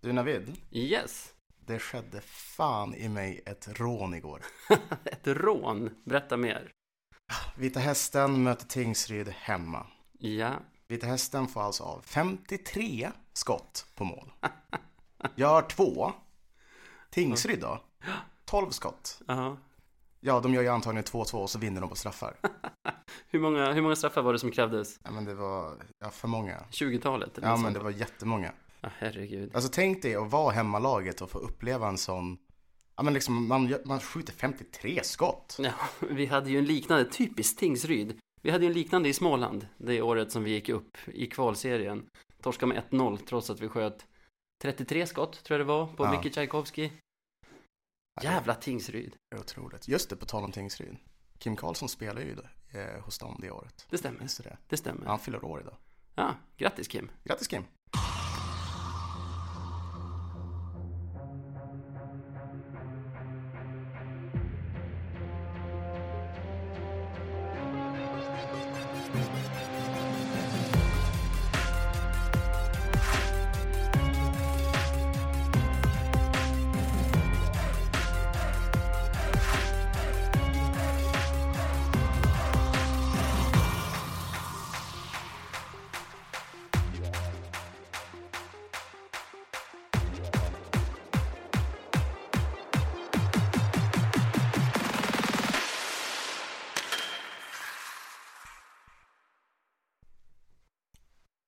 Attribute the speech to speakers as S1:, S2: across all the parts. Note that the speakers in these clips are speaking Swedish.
S1: Du Navid,
S2: Yes.
S1: det skedde fan i mig ett rån igår.
S2: Ett rån. Berätta mer.
S1: Vita Hästen möter Tingsryd hemma.
S2: Ja.
S1: Vita Hästen får alltså av 53 skott på mål. Jag har två. Tingsryd då? 12 skott.
S2: Jaha.
S1: Ja, de gör ju antagligen 2-2 och så vinner de på straffar.
S2: Hur många, hur många straffar var det som krävdes?
S1: Ja, men det var ja, för många.
S2: 20-talet? eller
S1: Ja,
S2: något
S1: men
S2: sånt.
S1: det var jättemånga.
S2: Ja, herregud.
S1: Alltså tänk dig att vara hemmalaget och få uppleva en sån... Ja, men liksom man, gör- man skjuter 53 skott.
S2: Ja, vi hade ju en liknande, typiskt Tingsryd. Vi hade ju en liknande i Småland det året som vi gick upp i kvalserien. Torska med 1-0 trots att vi sköt 33 skott, tror jag det var, på
S1: Ja.
S2: Micke Tchaikovsky.
S1: Ja, det-
S2: Jävla Tingsryd.
S1: Det är Otroligt. Just det, på tal om Tingsryd. Kim Karlsson spelar ju eh, hos dem det året.
S2: Det stämmer.
S1: Minns du det?
S2: Det stämmer. Ja.
S1: Han fyller år idag.
S2: grattis Kim.
S1: Grattis Kim!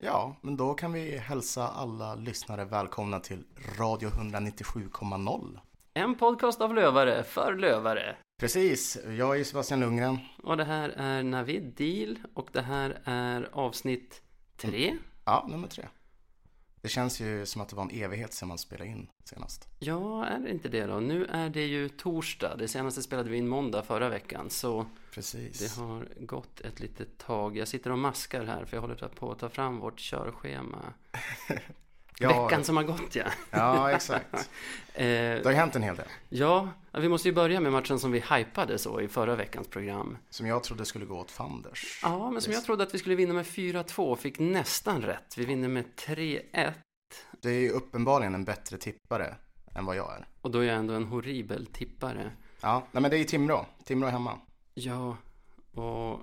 S1: Ja, men då kan vi hälsa alla lyssnare välkomna till Radio 197,0.
S2: En podcast av lövare, för lövare.
S1: Precis, jag är Sebastian Lundgren.
S2: Och det här är Navid Deal och det här är avsnitt tre.
S1: Ja, nummer tre. Det känns ju som att det var en evighet sedan man spelade in senast.
S2: Ja, är det inte det då? Nu är det ju torsdag. Det senaste spelade vi in måndag förra veckan. Så det
S1: Precis.
S2: har gått ett litet tag. Jag sitter och maskar här för jag håller på att ta fram vårt körschema. Veckan som har gått ja.
S1: Ja, exakt.
S2: Eh,
S1: Det har ju hänt en hel del.
S2: ja, vi måste ju börja med matchen som vi hypade så i förra veckans program.
S1: Som jag trodde skulle gå åt Fanders.
S2: Ja, men som jag trodde att vi skulle vinna med 4-2 fick nästan rätt. Vi vinner med 3-1.
S1: Du är ju uppenbarligen en bättre tippare än vad jag är.
S2: Och då är jag ändå en horribel tippare.
S1: Ja, nej men det är ju Timrå. Timrå är hemma.
S2: Ja, och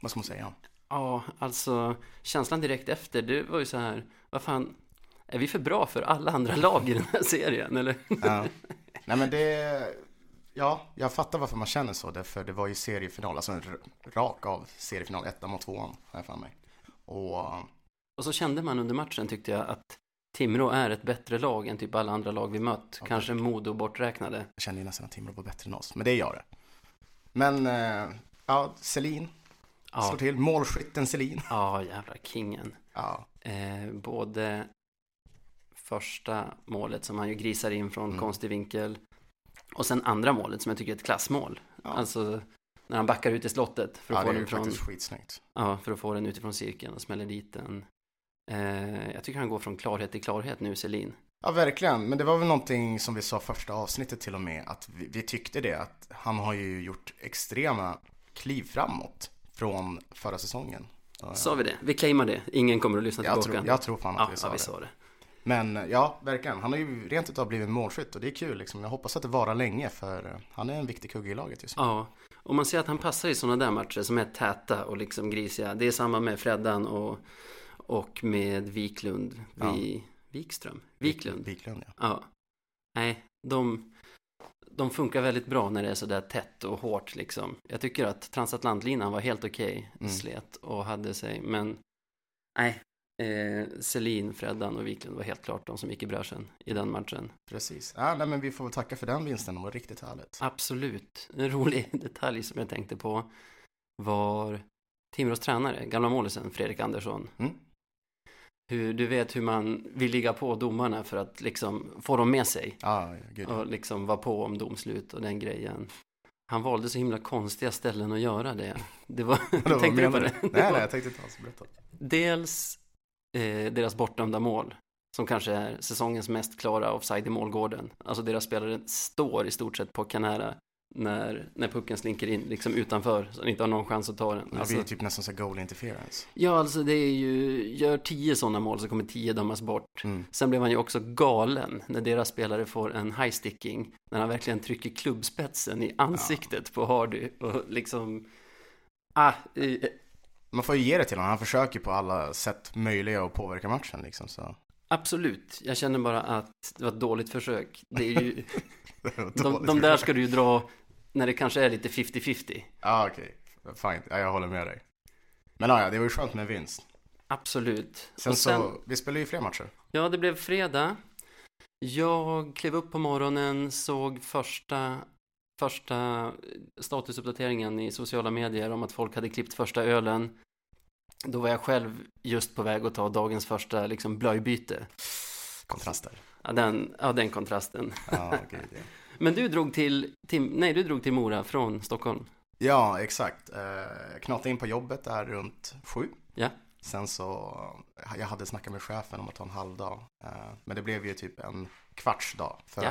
S1: Vad ska man säga?
S2: ja, alltså känslan direkt efter, det var ju så här, vad fan, är vi för bra för alla andra lag i den här serien eller?
S1: Ja. Nej men det, ja, jag fattar varför man känner så. Därför det var ju seriefinal, alltså en r- rak av seriefinal, ettan mot tvåan, har jag för mig. Och
S2: Och så kände man under matchen tyckte jag att Timrå är ett bättre lag än typ alla andra lag vi mött,
S1: Ja,
S2: kanske Modo borträknade.
S1: jag kände ju nästan att Timrå var bättre än oss, men det gör det. Men, eh, ja, Selin slår
S2: Ja,
S1: till. Målskytten Selin.
S2: ja jävla kingen.
S1: Ja,
S2: Eh, både första målet som han ju grisar in från
S1: Mm.
S2: konstig vinkel och sen andra målet som jag tycker är ett klassmål.
S1: Ja.
S2: Alltså när han backar ut i slottet för att
S1: ja det är
S2: få den
S1: ju
S2: från
S1: faktiskt skitsnyggt.
S2: Ja, för att få den utifrån cirkeln och smäller dit den. Eh, jag tycker han går från klarhet till klarhet nu, Selin.
S1: Ja, verkligen. Men det var väl någonting som vi sa första avsnittet till och med, att vi, vi tyckte det, att han har ju gjort extrema kliv framåt från förra säsongen. Ja,
S2: Sa vi det? Vi claimar det. Ingen kommer att lyssna
S1: Jag
S2: tillbaka.
S1: tror, jag tror fan att
S2: ja,
S1: vi sa
S2: ja, vi
S1: det.
S2: sa det.
S1: Men ja, verkligen. Han har ju rent utav blivit målskytt och det är kul liksom. Jag hoppas att det varar länge för eh, han är en viktig kugge i laget just nu.
S2: Ja, och man ser att han passar i sådana där matcher som är täta och liksom grisiga. Det är samma med Freddan och, och med Wiklund. Vi, Wikström? Wiklund.
S1: Wiklund, ja.
S2: Ja. Nej, de, de funkar väldigt bra när det är sådär tätt och hårt liksom. Jag tycker att transatlantlinan var helt okej,
S1: Mm.
S2: slet och hade sig, men nej. Eh, Selin, Freddan och Wiklund var helt klart de som gick i bräschen i den matchen.
S1: Precis. Ja, nej, men vi får väl tacka för den vinsten, det var riktigt härligt.
S2: Absolut. En rolig detalj som jag tänkte på var Timrås tränare, gamla målisen Fredrik Andersson.
S1: Mm.
S2: Hur, du vet hur man vill ligga på domarna för att liksom få dem med sig.
S1: Ja, gud.
S2: och liksom var på om domslut och den grejen. Han valde så himla konstiga ställen att göra det. Det var,
S1: Vadå, vad
S2: tänkte du på
S1: menar
S2: det?
S1: Nej, nej, jag tänkte inte alls berätta.
S2: Dels eh, deras bortdömda mål, som kanske är säsongens mest klara offside i målgården. Alltså deras spelare står i stort sett på kanära när, när pucken slinker in liksom utanför så han inte har någon chans att ta den.
S1: Det
S2: Alltså,
S1: blir typ nästan så här goal interference.
S2: ja, alltså det är ju, gör tio sådana mål så kommer tio dömas bort.
S1: Mm.
S2: Sen blev han ju också galen när deras spelare får en high sticking när han verkligen trycker klubbspetsen i ansiktet på Hardy och liksom ah, eh,
S1: Man får ju ge det till honom. Han försöker på alla sätt möjliga att påverka matchen liksom. Så.
S2: absolut. Jag känner bara att det var ett dåligt försök. Det är ju,
S1: Det var
S2: de,
S1: dåligt.
S2: de där ska du ju dra när det kanske är lite 50-50.
S1: Ja, okej. Fine. Ja, jag håller med dig. Men ja, ja, det var ju skönt med vinst.
S2: Absolut.
S1: Sen,
S2: Och
S1: så, vi spelar ju fler matcher.
S2: Ja, det blev fredag. Jag klev upp på morgonen, såg första, första statusuppdateringen i sociala medier om att folk hade klippt första ölen. Då var jag själv just på väg att ta dagens första liksom, blöjbyte.
S1: Kontraster.
S2: Ja, den, ja, den kontrasten.
S1: Ja, gud, ja.
S2: Men du drog till, till, nej, du drog till Mora från Stockholm.
S1: ja, exakt. Eh, knatade in på jobbet där runt sju.
S2: Ja.
S1: Sen så, jag hade snackat med chefen om att ta en halv dag. Eh, men det blev ju typ en kvarts dag. För
S2: Ja.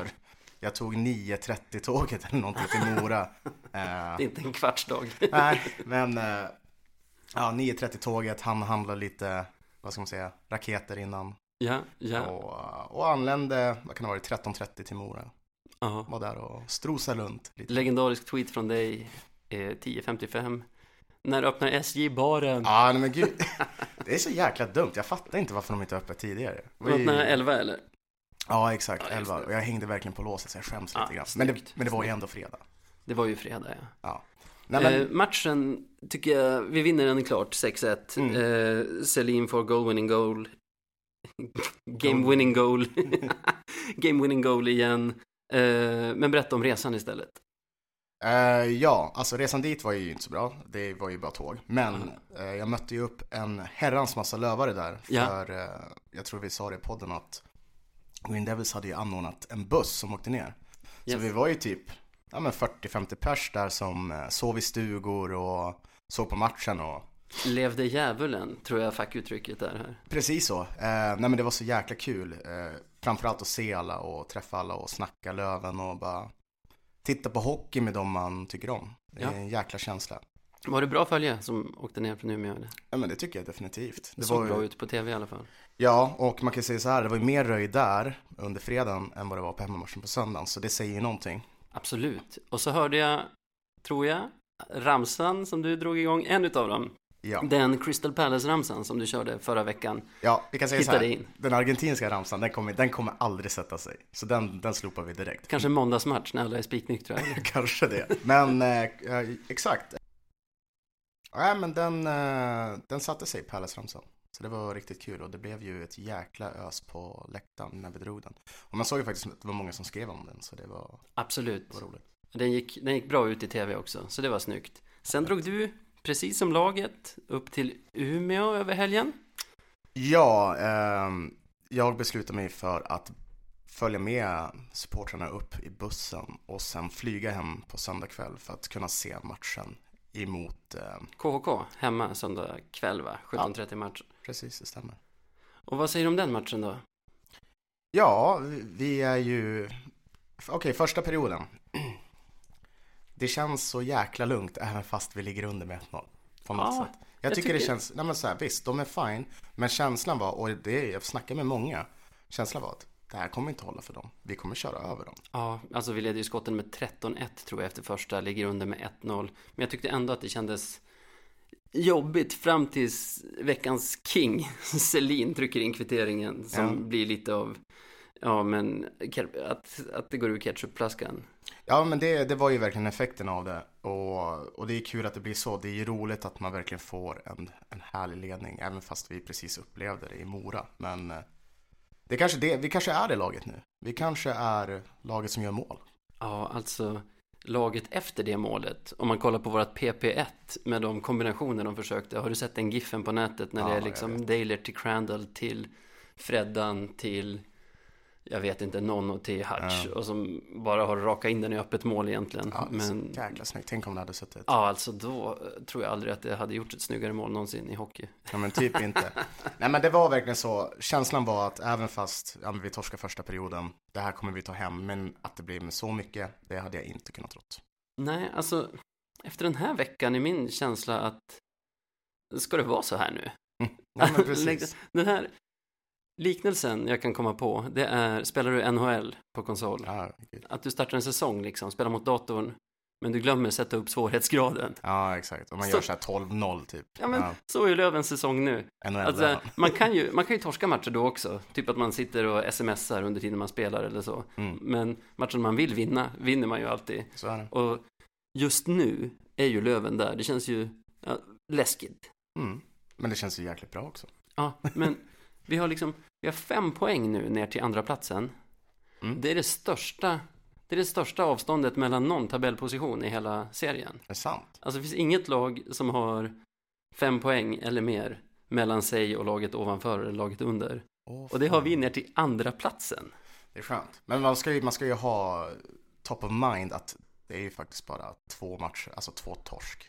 S1: jag tog 9.30-tåget eller någonting till Mora. Eh,
S2: Det är inte en kvarts dag.
S1: Nej, men eh, ja, 9.30-tåget, han handlade lite, vad ska man säga, raketer innan.
S2: Ja, ja,
S1: Och, och anlände, vad kan det vara, 13.30 till Mora.
S2: ja.
S1: Var där och strosade runt lite.
S2: Legendarisk tweet från dig, eh, 10.55. När öppnar SJ baren?
S1: Ja, nej men gud. Det är så jäkla dumt. Jag fattar inte varför de inte är öppet tidigare.
S2: Vi... Öppnar 11 eller?
S1: Ja, exakt.
S2: Ja, just
S1: 11.
S2: det.
S1: Och jag hängde verkligen på låset så jag skäms
S2: Ja,
S1: lite grann. Men det,
S2: snyggt.
S1: men det var ju ändå fredag.
S2: Det var ju fredag, ja.
S1: Nej, men,
S2: Eh, matchen tycker jag, vi vinner den klart, 6-1.
S1: Mm.
S2: Eh, Selin får goal winning goal. Game winning goal. Game winning goal igen. Eh, men berätta om resan istället.
S1: Eh, ja, alltså resan dit var ju inte så bra. Det var ju bara tåg.
S2: Mm.
S1: Men eh, jag mötte ju upp en herrans massa lövare där.
S2: Ja.
S1: För eh, jag tror vi sa det i podden att Green Devils hade ju anordnat en buss som åkte ner. Så
S2: Yes.
S1: vi var ju typ ja, men 40-50 pers där som eh, sov i stugor och såg på matchen och
S2: Levde djävulen, tror jag fackuttrycket är här.
S1: Precis så. Eh, nej men det var så jäkla kul. Eh, framförallt att se alla och träffa alla och snacka Löven och bara titta på hockey med dem man tycker om. Det är
S2: Ja.
S1: en jäkla känsla.
S2: Var det bra följe som åkte ner från Umeå? Eller?
S1: Ja men det tycker jag definitivt.
S2: Det
S1: Det
S2: såg
S1: var
S2: bra
S1: ju,
S2: ut på tv i alla fall.
S1: ja, och man kan säga så här, det var ju mer röj där under fredagen än vad det var på hemmamatchen på söndagen. Så det säger ju någonting.
S2: Absolut. Och så hörde jag, tror jag, ramsan som du drog igång, en utav dem.
S1: Ja,
S2: Den Crystal Palace-ramsan som du körde förra veckan.
S1: ja vi kan säga så
S2: Hittade
S1: här,
S2: in.
S1: den argentinska ramsan, den kommer, den kommer aldrig sätta sig. Så den, den slopar vi direkt.
S2: Kanske en måndagsmatch när alla är spiknyktra.
S1: Kanske det. Men eh, eh, exakt. Nej, men den, eh, den satte sig, Palace-ramsan. Så det var riktigt kul och det blev ju ett jäkla ös på läktaren när vi drog den. Och man såg ju faktiskt att det var många som skrev om den, så det var,
S2: Absolut.
S1: det var roligt.
S2: Den gick, den gick bra ut i tv också, så det var snyggt. Sen drog du, precis som laget, upp till Umeå över helgen.
S1: Ja, ehm, jag beslutade mig för att följa med supportrarna upp i bussen och sen flyga hem på söndag kväll för att kunna se matchen emot... Eh,
S2: KHK, hemma söndag kväll va? 17.30 match.
S1: precis, det stämmer.
S2: Och vad säger du om den matchen då?
S1: Ja, vi- vi är ju... Okej, första perioden. Det känns så jäkla lugnt även fast vi ligger under med 1-0. På något
S2: Ja,
S1: sätt. Jag,
S2: jag
S1: tycker, det
S2: tycker-
S1: känns, nej men så här, visst de är fine, men känslan var, och det är, jag snackar med många, känslan var att det här kommer inte hålla för dem. Vi kommer köra över dem.
S2: Ja, alltså vi ledde ju skotten med 13-1 tror jag efter första, ligger under med 1-0. Men jag tyckte ändå att det kändes jobbigt fram tills veckans king, Selin, trycker in kvitteringen som
S1: Ja.
S2: blir lite av, ja men, ker- att, att det går ur ketchupflaskan.
S1: Ja, men det, det var ju verkligen effekten av det. Och, och det är kul att det blir så. Det är ju roligt att man verkligen får en, en härlig ledning, även fast vi precis upplevde det i Mora. Men eh, det är kanske det, vi kanske är det laget nu. Vi kanske är laget som gör mål.
S2: Ja, alltså laget efter det målet, om man kollar på vårat PP1 med de kombinationer de försökte, har du sett den giffen på nätet när
S1: Ja,
S2: det är
S1: jag
S2: liksom
S1: vet.
S2: Daler till Crandall till Freddan till jag vet inte, någon och till Hutch och som bara har rakat in den i öppet mål egentligen.
S1: Ja,
S2: Men
S1: Men... Jäkla snyggt. Tänk om det hade suttit.
S2: ja, alltså då tror jag aldrig att det hade gjort ett snyggare mål någonsin i hockey.
S1: Ja, men typ inte. Nej, men det var verkligen så. Känslan var att även fast ja, men vi torskar första perioden, det här kommer vi ta hem. Men att det blir med så mycket, det hade jag inte kunnat trott.
S2: Nej, alltså efter den här veckan är min känsla att ska det vara så här nu?
S1: Ja, men precis.
S2: Den här liknelsen jag kan komma på, det är spelar du NHL på konsol?
S1: Ja, gud.
S2: Att du startar en säsong liksom, spelar mot datorn, men du glömmer sätta upp svårighetsgraden.
S1: ja, exakt. Om man
S2: Så-
S1: gör så här 12-0 typ.
S2: Ja, men så är ju Lövens säsong nu.
S1: NHL
S2: Alltså,
S1: där, va?
S2: man, kan ju, man kan ju torska matcher då också, typ att man sitter och smsar under tiden man spelar eller så.
S1: Mm,
S2: Men matchen man vill vinna, vinner man ju alltid.
S1: så är det.
S2: Och just nu är ju Löven där, det känns ju ja, läskigt.
S1: Mm. Men det känns ju jäkligt bra också.
S2: Ja, men vi har liksom, vi har fem poäng nu ner till andra platsen.
S1: Mm.
S2: Det är det största, det är det största avståndet mellan någon tabellposition i hela serien.
S1: Det är sant.
S2: Alltså det finns inget lag som har fem poäng eller mer mellan sig och laget ovanför eller laget under.
S1: Åh,
S2: Och det har
S1: fan.
S2: vi ner till andra platsen.
S1: Det är skönt. Men man ska, ju, man ska ju ha top of mind att det är ju faktiskt bara två matcher, alltså två torsk.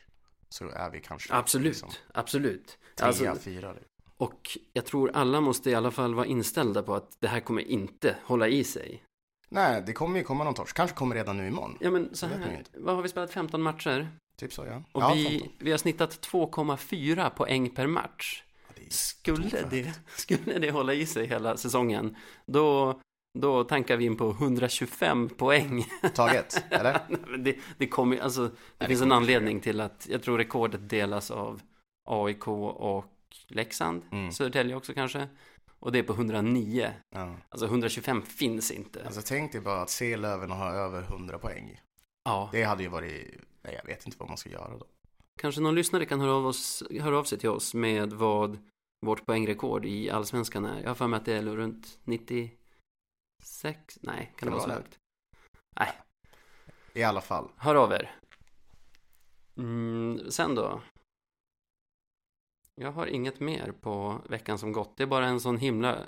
S1: Så är vi kanske liksom
S2: absolut.
S1: trea,
S2: Alltså,
S1: fyra. liksom.
S2: och jag tror alla måste i alla fall vara inställda på att det här kommer inte hålla i sig.
S1: Nej, det kommer ju komma någon torsk. Kanske kommer redan nu imorgon.
S2: Ja men så
S1: Det vet man ju
S2: här,
S1: inte.
S2: vad har vi spelat 15 matcher?
S1: Typ så ja.
S2: Och
S1: ja,
S2: vi,
S1: femton.
S2: vi har snittat 2,4 poäng per match.
S1: Ja, det är stort
S2: Skulle
S1: för
S2: det,
S1: högt.
S2: skulle det hålla i sig hela säsongen, då, då tankar vi in på 125 poäng.
S1: Taget, eller?
S2: Nej, men det, det, kommer, alltså, det
S1: det
S2: finns en
S1: kommer
S2: anledning till att jag tror rekordet delas av AIK och Leksand,
S1: Mm.
S2: Södertälje också kanske. Och det är på 109.
S1: Ja.
S2: Alltså 125 finns inte.
S1: Alltså tänk dig bara att se Löven och ha över 100 poäng.
S2: ja.
S1: Det hade ju varit, nej jag vet inte vad man ska göra då.
S2: Kanske någon lyssnare kan höra av, oss, höra av sig till oss med vad vårt poängrekord i allsvenskan är. Jag har för mig att det är runt 96? Nej, kan det vara så högt?
S1: I alla fall.
S2: Hör av er. Mm, sen då? Jag har inget mer på veckan som gått. Det är bara en sån himla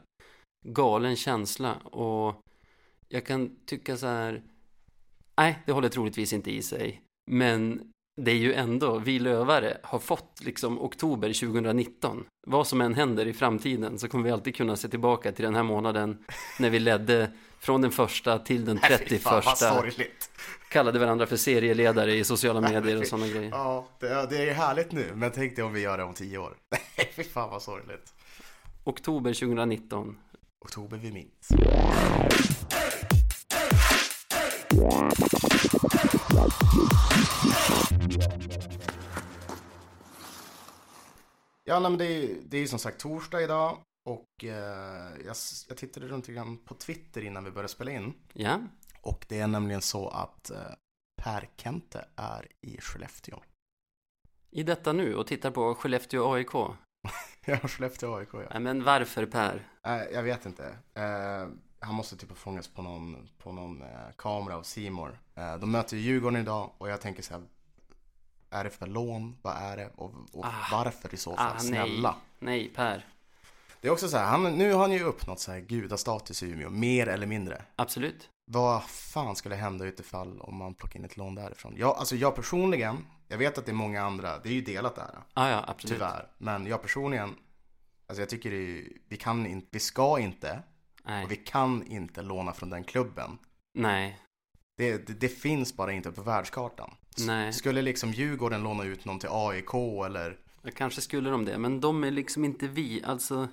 S2: galen känsla och jag kan tycka så här. Nej, det håller troligtvis inte i sig. Men det är ju ändå, vi lövare har fått liksom oktober 2019. Vad som än händer i framtiden så kommer vi alltid kunna se tillbaka till den här månaden när vi ledde från den första till den
S1: Nej, fy
S2: 31
S1: fan, vad sorgligt.
S2: kallade varandra för serieledare i sociala
S1: Nej,
S2: medier och
S1: fy-
S2: sådana grejer.
S1: Ja, det är, det är härligt nu, men tänk dig om vi gör det om tio år. Nej, fy fan vad sorgligt.
S2: Oktober 2019.
S1: Oktober vi minns. Ja, nej, men det är, ju- det är ju som sagt torsdag idag och eh, jag, s- jag tittade runt lite grann på Twitter innan vi började spela in.
S2: Ja,
S1: Och det är nämligen så att eh, Per Kente är i Skellefteå.
S2: i detta nu och tittar på Skellefteå AIK.
S1: Ja, Skellefteå AIK ja.
S2: Nej, men varför Per?
S1: Nej, jag vet inte. Eh, han måste typ ha fångats på någon, på någon eh, kamera av Simor. Eh, de möter ju Djurgården idag och jag tänker så här. Är det för lån? Vad är det? Och, och
S2: Ah.
S1: varför i så fall?
S2: Ah, nej.
S1: Snälla.
S2: Nej, Per.
S1: Det är också så här, han, nu har han ju uppnått så här gudastatus i Umeå, mer eller mindre.
S2: Absolut.
S1: Vad fan skulle hända utifall om man plockar in ett lån därifrån? Jag, alltså jag personligen, jag vet att det är många andra, det är ju delat där.
S2: Ah, ja, absolut.
S1: Tyvärr. Men jag personligen, alltså jag tycker det är, vi kan inte, vi ska inte
S2: Nej.
S1: och vi kan inte låna från den klubben.
S2: nej.
S1: Det, det, det finns bara inte på världskartan. S-
S2: Nej.
S1: Skulle liksom Djurgården låna ut någon till AIK eller?
S2: Kanske skulle de det, men de är liksom inte vi. Alltså,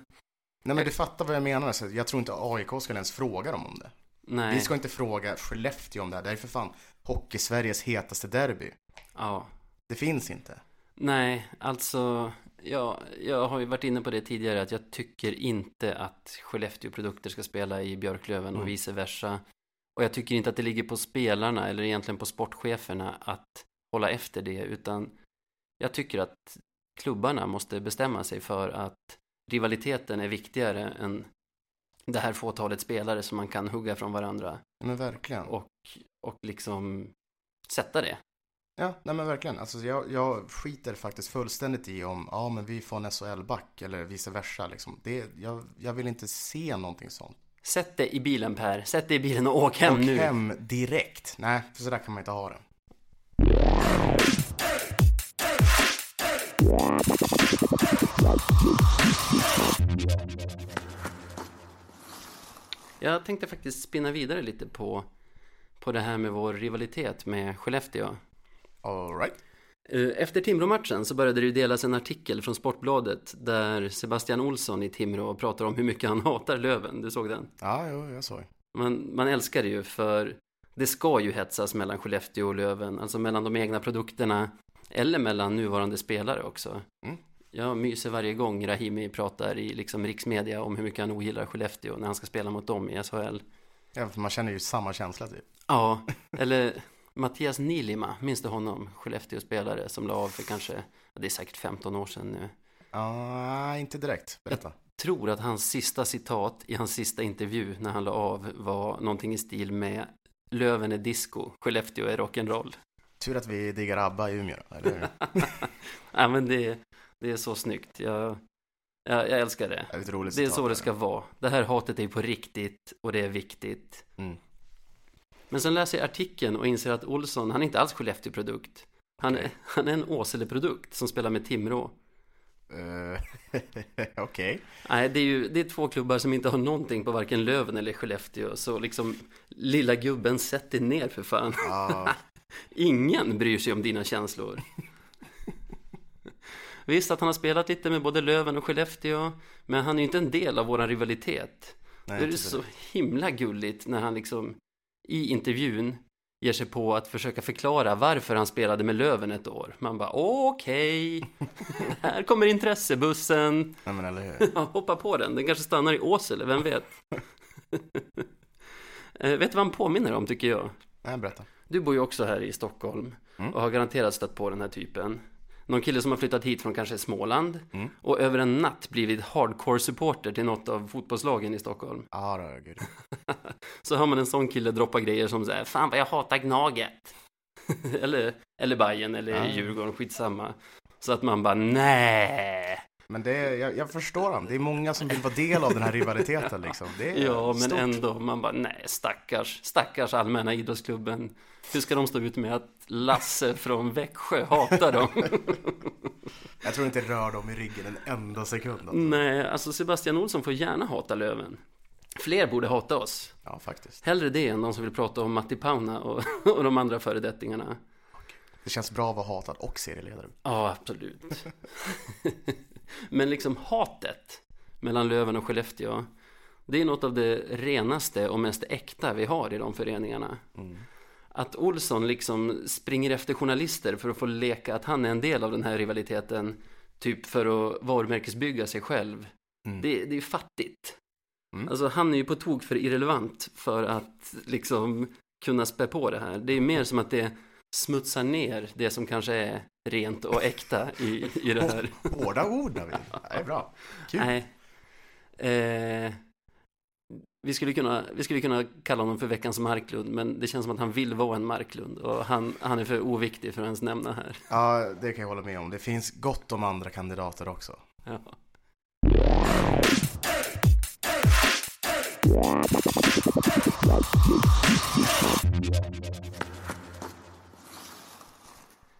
S1: Nej men du fattar vad jag menar. Så jag tror inte AIK skulle ens fråga dem om det.
S2: nej.
S1: Vi ska inte fråga Skellefteå om det här. Det här är för fan Hockey-Sveriges hetaste derby.
S2: Ja.
S1: Det finns inte.
S2: Nej, alltså, ja, jag har ju varit inne på det tidigare att jag tycker inte att Skellefteå-produkter ska spela i Björklöven och
S1: Mm.
S2: vice versa. Och jag tycker inte att det ligger på spelarna eller egentligen på sportcheferna att hålla efter det, utan jag tycker att klubbarna måste bestämma sig för att rivaliteten är viktigare än det här fåtalet spelare som man kan hugga från varandra
S1: Nej, Men verkligen.
S2: och, och liksom sätta det.
S1: Ja, nej men verkligen. Alltså jag, jag skiter faktiskt fullständigt i om, ja men vi får en SHL-back eller vice versa liksom. Det, jag, jag vill inte se någonting sånt.
S2: Sätt det i bilen Per, sätt det i bilen och åk hem
S1: Och
S2: nu.
S1: hem direkt. Nej, för sådär kan man inte ha det.
S2: Jag tänkte faktiskt spinna vidare lite på, på det här med vår rivalitet med Skellefteå.
S1: All right.
S2: Eh, Efter Timrå-matchen så började det ju delas en artikel från Sportbladet där Sebastian Olsson i Timrå pratar om hur mycket han hatar Löven. Du såg den?
S1: Ja, jo, jag såg.
S2: Man, man älskar det ju för det ska ju hetsas mellan Skellefteå och Löven, alltså mellan de egna produkterna eller mellan nuvarande spelare också.
S1: Mm.
S2: Jag myser varje gång Rahimi pratar i liksom riksmedia om hur mycket han ogillar Skellefteå när han ska spela mot dem i SHL.
S1: Ja, för man känner ju samma känsla typ.
S2: Ja, eller Mattias Nilima, minns du honom? Skellefteå-spelare som la av för kanske, det är säkert 15 år sedan nu.
S1: Ja, inte direkt. Berätta.
S2: Tror att hans sista citat i hans sista intervju när han la av var någonting i stil med Löven är disco, Skellefteå är rock'n'roll.
S1: Tur att vi diggar ABBA i Umeå, eller hur?
S2: Ja, men det, det är så snyggt. Jag, jag, jag älskar det.
S1: Det är ett roligt
S2: Det är
S1: citat
S2: så
S1: där.
S2: det ska vara. Det här hatet är ju på riktigt och det är viktigt.
S1: Mm.
S2: Men sen läser jag artikeln och inser att Olsson, han är inte alls Skellefteå-produkt. Han, är- han är en Åsele-produkt som spelar med Timrå.
S1: Eh, Okej.
S2: Nej, det är ju det är två klubbar som inte har någonting på varken Löven eller Skellefteå. Så liksom, lilla gubben, sätt dig ner för fan.
S1: Ja,
S2: Ingen bryr sig om dina känslor. Visst att han har spelat lite med både Löven och Skellefteå, men han är ju inte en del av våran rivalitet.
S1: nej,
S2: det är
S1: inte
S2: så himla gulligt när han liksom i intervjun ger sig på att försöka förklara varför han spelade med Löven ett år. Man bara okej, här kommer intressebussen.
S1: Nej, men eller hur?
S2: Ja, hoppa på den, den kanske stannar i Åsele, vem vet? Eh, vet du vad han påminner om tycker jag?
S1: Nej, berätta.
S2: Du bor ju också här i Stockholm och har garanterat stött på den här typen. Någon kille som har flyttat hit från kanske Småland och över en natt blivit hardcore-supporter till något av fotbollslagen i Stockholm.
S1: Ja, då, gud.
S2: Så hör man en sån kille droppa grejer som såhär, fan vad jag hatar Gnaget. eller, eller Bayern eller
S1: Ja.
S2: Djurgården, skitsamma. Så att man bara, nej.
S1: Men det är, jag, jag förstår honom. Det är många som vill vara del av den här rivaliteten liksom. Det är
S2: Ja, men
S1: stort.
S2: ändå, man bara, nej, stackars, stackars allmänna idrottsklubben. Hur ska de stå ut med att Lasse från Växjö hatar dem?
S1: Jag tror inte det rör dem i ryggen en enda sekund. Alltså.
S2: Nej, alltså Sebastian Olsson får gärna hata Löven. Fler borde hata oss.
S1: Ja, faktiskt.
S2: Hellre det än de som vill prata om Matti Pauna och, och de andra föredettingarna.
S1: Det känns bra att vara hatad och serieledare.
S2: Ja, absolut. Men liksom hatet mellan Löven och Skellefteå, det är något av det renaste och mest äkta vi har i de föreningarna. Att Olsson liksom springer efter journalister för att få leka att han är en del av den här rivaliteten, typ för att varumärkesbygga sig själv,
S1: Mm.
S2: det, det är fattigt.
S1: Mm.
S2: Alltså han är ju på tok för irrelevant för att liksom kunna spä på det här. Det är mer som att det smutsar ner det som kanske är rent och äkta i, i det här.
S1: Hårda ord, David. Det är bra. Kul.
S2: Nej. Eh, vi, skulle kunna, vi skulle kunna kalla honom för veckans Marklund, men det känns som att han vill vara en Marklund och han, han är för oviktig för att ens nämna här.
S1: Ja, det kan jag hålla med om. Det finns gott om andra kandidater också.
S2: Ja.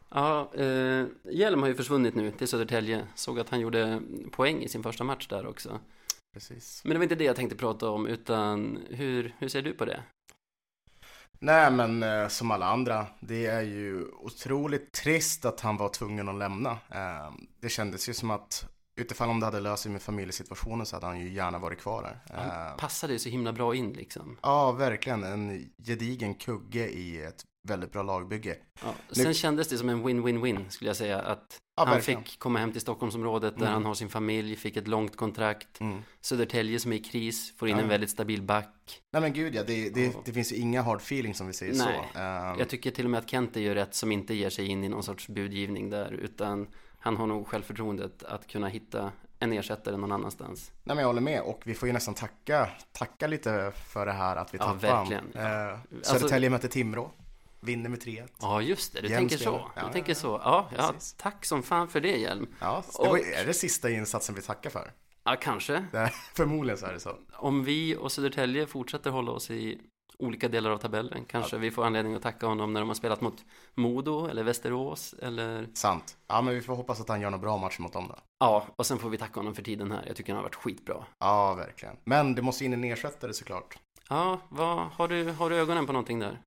S2: Ja, eh, Hjelm har ju försvunnit nu till Södertälje. Såg att han gjorde poäng i sin första match där också.
S1: Precis.
S2: Men det var inte det jag tänkte prata om, utan hur, hur ser du på det?
S1: Nej, men eh, som alla andra, det är ju otroligt trist att han var tvungen att lämna. Eh, det kändes ju som att utifall om det hade löst sig med familjesituationen så hade han ju gärna varit kvar där.
S2: Han
S1: Eh,
S2: passade ju så himla bra in liksom.
S1: Ja, verkligen. En gedigen kugge i ett väldigt bra lagbygge.
S2: Ja,
S1: Nu-
S2: sen kändes det som en win-win-win skulle jag säga att
S1: Ja,
S2: han
S1: verkligen.
S2: fick komma hem till Stockholmsområdet där
S1: Mm.
S2: han har sin familj, fick ett långt kontrakt.
S1: Mm.
S2: Södertälje som är i kris, får in
S1: Ja.
S2: en väldigt stabil back.
S1: Nej men gud ja, det, det,
S2: Ja.
S1: det finns ju inga hard feelings som vi säger så.
S2: Nej.
S1: Ehm,
S2: Jag tycker till och med att Kente gör rätt som inte ger sig in i någon sorts budgivning där, utan han har nog självförtroendet att kunna hitta en ersättare någon annanstans.
S1: nej men jag håller med och vi får ju nästan tacka, tacka lite för det här att vi
S2: Ja,
S1: tappade
S2: verkligen.
S1: Ehm,
S2: Alltså-
S1: Södertälje möter Timrå, vinner med 3-1.
S2: Ja, just det, du
S1: Jämn
S2: tänker
S1: spelare.
S2: så.
S1: Ja,
S2: Du
S1: ja,
S2: tänker
S1: ja.
S2: så. Ja, ja,
S1: Precis.
S2: tack som fan för det Hjelm.
S1: Ja, det var,
S2: Och-
S1: är det sista insatsen vi tackar för?
S2: Ja, kanske.
S1: Det, förmodligen så är det så.
S2: Om vi och Södertälje fortsätter hålla oss i olika delar av tabellen, kanske vi får anledning att tacka honom när de har spelat mot Modo eller Västerås eller
S1: Sant. Ja men vi får hoppas att han gör någon bra match mot dem då.
S2: Ja, och sen får vi tacka honom för tiden här. Jag tycker han har varit skitbra.
S1: Ja, verkligen. Men det måste in en ersättare såklart.
S2: Ja, vad, har, du, har du ögonen på någonting där?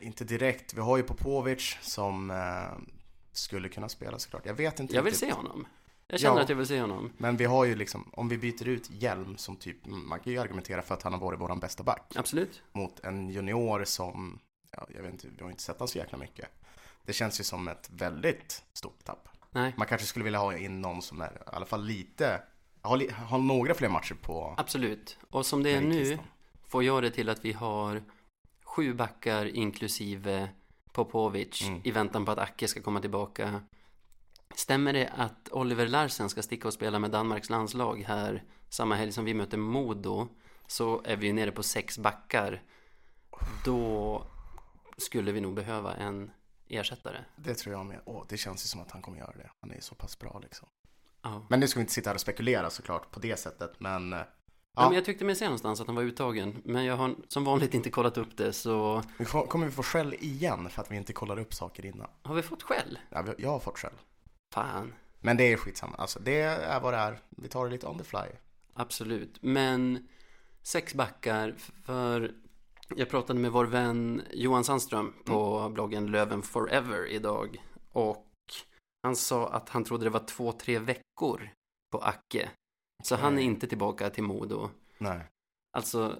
S1: inte direkt. Vi har ju Popovic som eh, skulle kunna spela såklart. Jag vet inte
S2: Jag vill
S1: riktigt.
S2: se honom. Jag känner
S1: Ja.
S2: att jag vill se honom.
S1: Men vi har ju liksom, om vi byter ut Hjelm som typ, man kan ju argumentera för att han har varit vår bästa back.
S2: Absolut.
S1: Mot en junior som, ja, jag vet inte, vi har inte sett han så jäkla mycket. Det känns ju som ett väldigt stort tapp.
S2: Nej,
S1: Man kanske skulle vilja ha in någon som är i alla fall lite, har, li, har några fler matcher på
S2: absolut. Och som det är nu
S1: meritlistan.
S2: får jag det till att vi har sju backar inklusive Popovic
S1: Mm.
S2: i väntan på att Acke ska komma tillbaka. Stämmer det att Oliver Larsen ska sticka och spela med Danmarks landslag här samma helg som vi möter Modo så är vi ju nere på sex backar. Då skulle vi nog behöva en ersättare.
S1: Det tror jag med. Åh, det känns ju som att han kommer göra det. Han är ju så pass bra liksom.
S2: Ja.
S1: Men nu ska vi inte sitta här och spekulera såklart på det sättet, men eh,
S2: Ja.
S1: Ja.
S2: men jag tyckte mig se någonstans att han var uttagen, men jag har som vanligt inte kollat upp det, så
S1: vi får- kommer vi få skäll igen för att vi inte kollar upp saker innan.
S2: har vi fått skäll?
S1: Ja, vi- jag har fått skäll.
S2: Fan,
S1: Men det är skitsamma. Alltså, det är vad det är. Vi tar det lite on the fly.
S2: absolut. Men sex backar, för jag pratade med vår vän Johan Sandström på bloggen Löven Forever idag och han sa att han trodde det var två, tre veckor på Acke, så han är
S1: Okej.
S2: inte tillbaka till Modo.
S1: Nej.
S2: Alltså,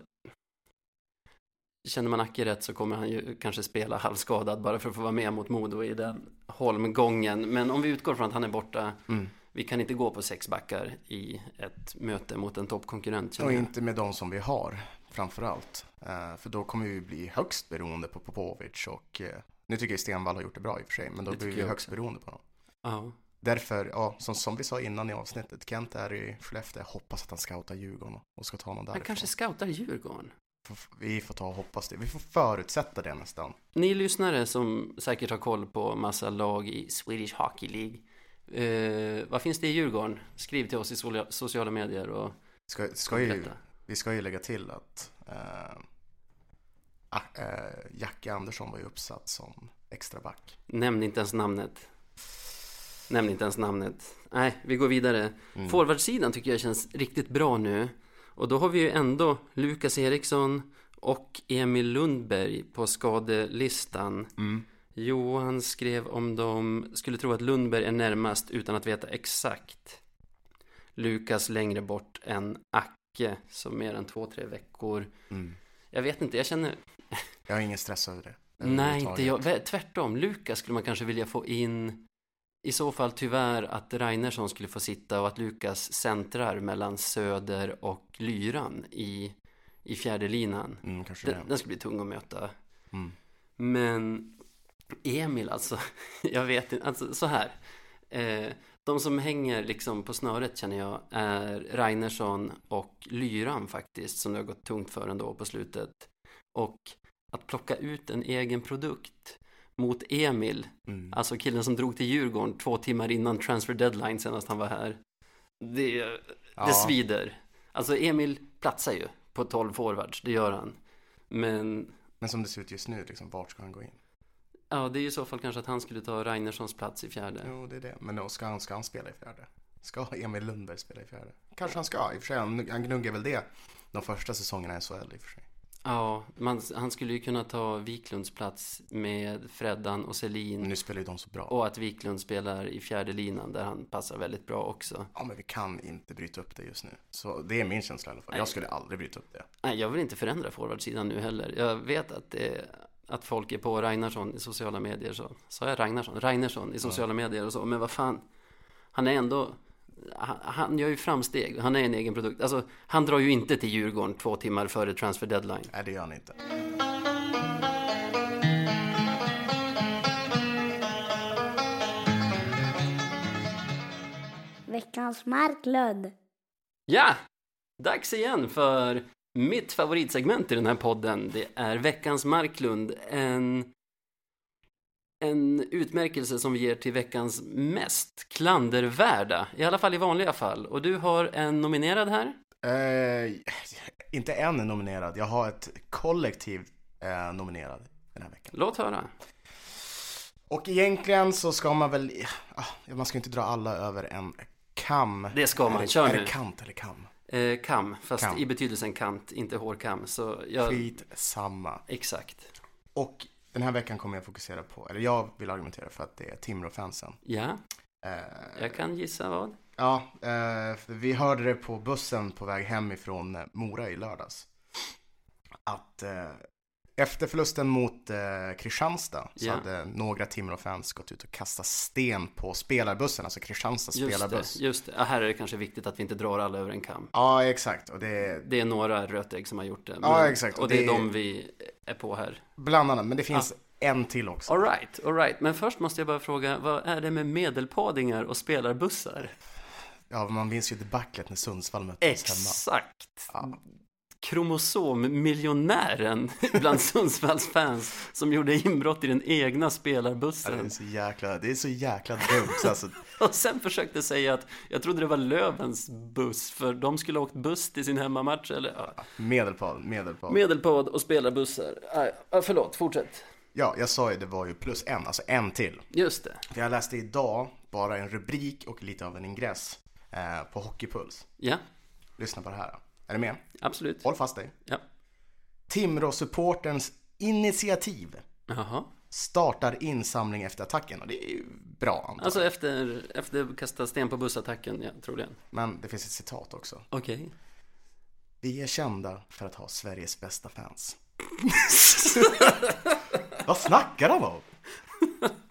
S2: känner man Acke rätt så kommer han ju kanske spela halvskadad bara för att få vara med mot Modo i den holmgången. Men om vi utgår från att han är borta,
S1: Mm.
S2: vi kan inte gå på sex backar i ett möte mot en toppkonkurrent. känner
S1: Och
S2: jag.
S1: inte med de som vi har, framför allt. Eh, för då kommer vi bli högst beroende på Popovic och eh, nu tycker jag Stenvall har gjort det bra i och för sig, men då
S2: Det
S1: blir
S2: tycker
S1: vi
S2: jag
S1: högst beroende på dem.
S2: Ja,
S1: Därför, ja, som, som vi sa innan i avsnittet, Kent är i Skellefteå, Jag hoppas att han scoutar Djurgården och ska ta någon
S2: han
S1: därifrån.
S2: kanske scoutar Djurgården.
S1: Får- Vi får ta och hoppas det. Vi får förutsätta det nästan.
S2: Ni lyssnare som säkert har koll på massa lag i Swedish Hockey League. Eh, vad finns det i Djurgården? Skriv till oss i solia- sociala medier och
S1: Ska, ska ju,
S2: berätta.
S1: vi ska ju lägga till att eh, ah, eh, Jacke Andersson var ju uppsatt som extra back.
S2: Nämn inte ens namnet. Nämn inte ens namnet. Nej, vi går vidare.
S1: Mm.
S2: Forwardsidan tycker jag känns riktigt bra nu. Och då har vi ju ändå Lukas Eriksson och Emil Lundberg på skadelistan.
S1: Mm.
S2: Johan skrev om de skulle tro att Lundberg är närmast utan att veta exakt. Lukas längre bort än Acke, så mer än två, tre veckor.
S1: Mm.
S2: Jag vet inte, jag känner
S1: Jag har ingen stress över det.
S2: Nej, inte
S1: överhuvudtaget.
S2: jag. Vä- Tvärtom, Lukas skulle man kanske vilja få in. I så fall tyvärr att Reinersson skulle få sitta och att Lukas centrar mellan Söder och Lyran i, i fjärde linan.
S1: Mm, kanske
S2: Den,
S1: det.
S2: den skulle bli tung att möta.
S1: Mm.
S2: Men Emil alltså, jag vet inte, alltså så här. Eh, de som hänger liksom på snöret känner jag är Reinersson och Lyran faktiskt som det har gått tungt för ändå på slutet. Och att plocka ut en egen produkt mot Emil,
S1: Mm.
S2: alltså killen som drog till Djurgården två timmar innan transfer deadline senast han var här. Det, det
S1: Ja.
S2: svider. Alltså Emil platsar ju på 12 forwards, det gör han. Men
S1: Men som det ser ut just nu, liksom, vart ska han gå in?
S2: Ja, det är ju i så fall kanske att han skulle ta Reinerssons plats i fjärde.
S1: Jo, det är det. Men då ska han, ska han spela i fjärde? Ska Emil Lundberg spela i fjärde? Kanske han ska, i och för sig. Han, han gnuggar väl det de första säsongerna i SHL i och för sig.
S2: Ja, man, han skulle ju kunna ta Wiklunds plats med Freddan och Selin.
S1: Men nu spelar ju de så bra.
S2: Och att Wiklund spelar i fjärde linan där han passar väldigt bra också.
S1: Ja, men vi kan inte bryta upp det just nu. Så det är min känsla i alla fall.
S2: Nej.
S1: Jag skulle aldrig bryta upp det.
S2: Nej, jag vill inte förändra forwardsidan nu heller. Jag vet att, det, att folk är på Ragnarsson i sociala medier. Så sa jag Ragnarsson? Ragnarsson i sociala medier och så. Men vad fan, han är ändå... Han, han gör ju framsteg. Han är en egen produkt. Alltså, han drar ju inte till Djurgården två timmar före transfer deadline.
S1: Nej, det gör han inte.
S3: Veckans Marklund.
S2: Ja! Dags igen för mitt favoritsegment i den här podden. Det är veckans Marklund. En, en utmärkelse som vi ger till veckans mest klandervärda. I alla fall i vanliga fall. Och du har en nominerad här.
S1: Eh, inte en är nominerad. Jag har ett kollektiv eh, nominerad den här veckan.
S2: Låt höra.
S1: Och egentligen så ska man väl, ah, man ska inte dra alla över en kam.
S2: Det ska man.
S1: Är det-
S2: Eh, Kör
S1: Är
S2: nu.
S1: det kant eller kam?
S2: Eh, kam, fast
S1: Kam.
S2: i betydelsen kant, inte hårkam. Så jag...
S1: Skitsamma.
S2: Exakt.
S1: Och Den här veckan kommer jag fokusera på, eller jag vill argumentera för att det är Timrå-fansen.
S2: Ja,
S1: Eh,
S2: jag kan gissa vad.
S1: Ja, eh, för vi hörde det på bussen på väg hem ifrån eh, Mora i lördags. Att eh, efter förlusten mot eh, Kristianstad så
S2: Ja.
S1: hade några Timrå-fans gått ut och kastat sten på spelarbussen, alltså Kristianstads
S2: Just det,
S1: spelarbuss.
S2: just det. Ja, här är det kanske viktigt att vi inte drar alla över en kam.
S1: Ja, exakt. Och det,
S2: Det är några rötägg som har gjort det. Men,
S1: Ja, exakt.
S2: Och det är
S1: Det-
S2: de vi är på här.
S1: Bland annat, men det finns en till också.
S2: All right, all right. Men först måste jag bara fråga, vad är det med medelpadingar och spelarbussar?
S1: Ja, man minns ju debaclet när Sundsvall möttes hemma.
S2: Exakt!
S1: Ja.
S2: Kromosommiljonären bland Sundsvalls fans som gjorde inbrott i den egna
S1: Ja, Det är
S2: spelarbussen
S1: så jäkla, det är så jäkla dumt. Så Alltså,
S2: och sen försökte säga att jag trodde det var Lövens buss för de skulle ha åkt buss till sin hemmamatch eller ja.
S1: medelpad, medelpad.
S2: Medelpad och spelarbussar. Nej, ja, förlåt, fortsätt.
S1: Ja, jag sa ju det var ju plus en, alltså en till.
S2: Just det.
S1: För jag läste idag bara en rubrik och lite av en ingress eh, på Hockeypuls.
S2: Ja,
S1: Lyssna på det här. Är du med?
S2: absolut.
S1: Håll fast dig.
S2: Ja.
S1: Timrå-supporterns initiativ
S2: Jaha.
S1: startar insamling efter attacken. Och det är ju bra, antar jag.
S2: Alltså efter, efter kasta sten på bussattacken, ja, troligen.
S1: men det finns ett citat också.
S2: Okej.
S1: Vi är kända för att ha Sveriges bästa fans. Vad snackar de om?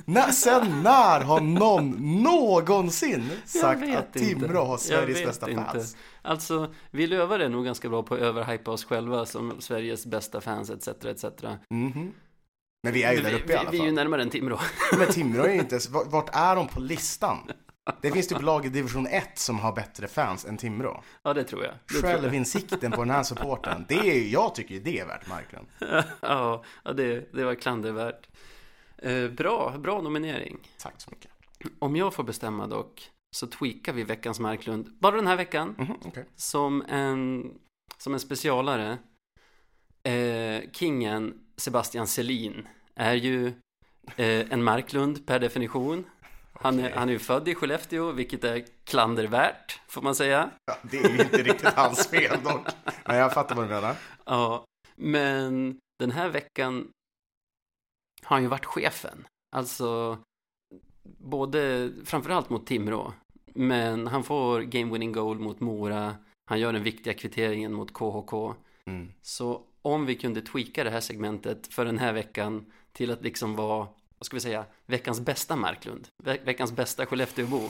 S1: När, sen när har någon någonsin sagt att Timrå har Sveriges bästa fans?
S2: Alltså, vi lövare är nog ganska bra på att överhypa oss själva som Sveriges bästa fans etc. etc.
S1: Mhm. Men vi är ju där uppe
S2: vi,
S1: i alla
S2: vi är
S1: fall.
S2: ju närmare än Timrå.
S1: Men Timrå är ju inte ens, vart vart är de på listan? Det finns typ lag i division 1 som har bättre fans än Timrå.
S2: Ja, det tror jag. Det tror jag.
S1: Självinsikten på den här supporten, det är ju, jag tycker ju det är värt marken.
S2: ja, ja, det, det var klandervärt. Eh, bra, bra nominering.
S1: Tack så mycket.
S2: Om jag får bestämma dock, så tweakar vi veckans Marklund. Bara den här veckan.
S1: Mhm, okej.
S2: som en, som en specialare. Eh, kingen Sebastian Selin är ju eh, en Marklund per definition. Han är,
S1: Okej.
S2: han är ju född i Skellefteå, vilket är klandervärt, får man säga.
S1: Ja, det är ju inte riktigt hans fel dock. Men jag fattar vad du menar.
S2: Ja, men den här veckan har han ju varit chefen. Alltså, både, framförallt mot Timrå. Men han får game winning goal mot Mora. Han gör den viktiga kvitteringen mot KHK.
S1: Mm.
S2: Så om vi kunde tweaka det här segmentet för den här veckan till att liksom vara, vad ska vi säga, veckans bästa Marklund, ve- veckans bästa Skellefteåbo,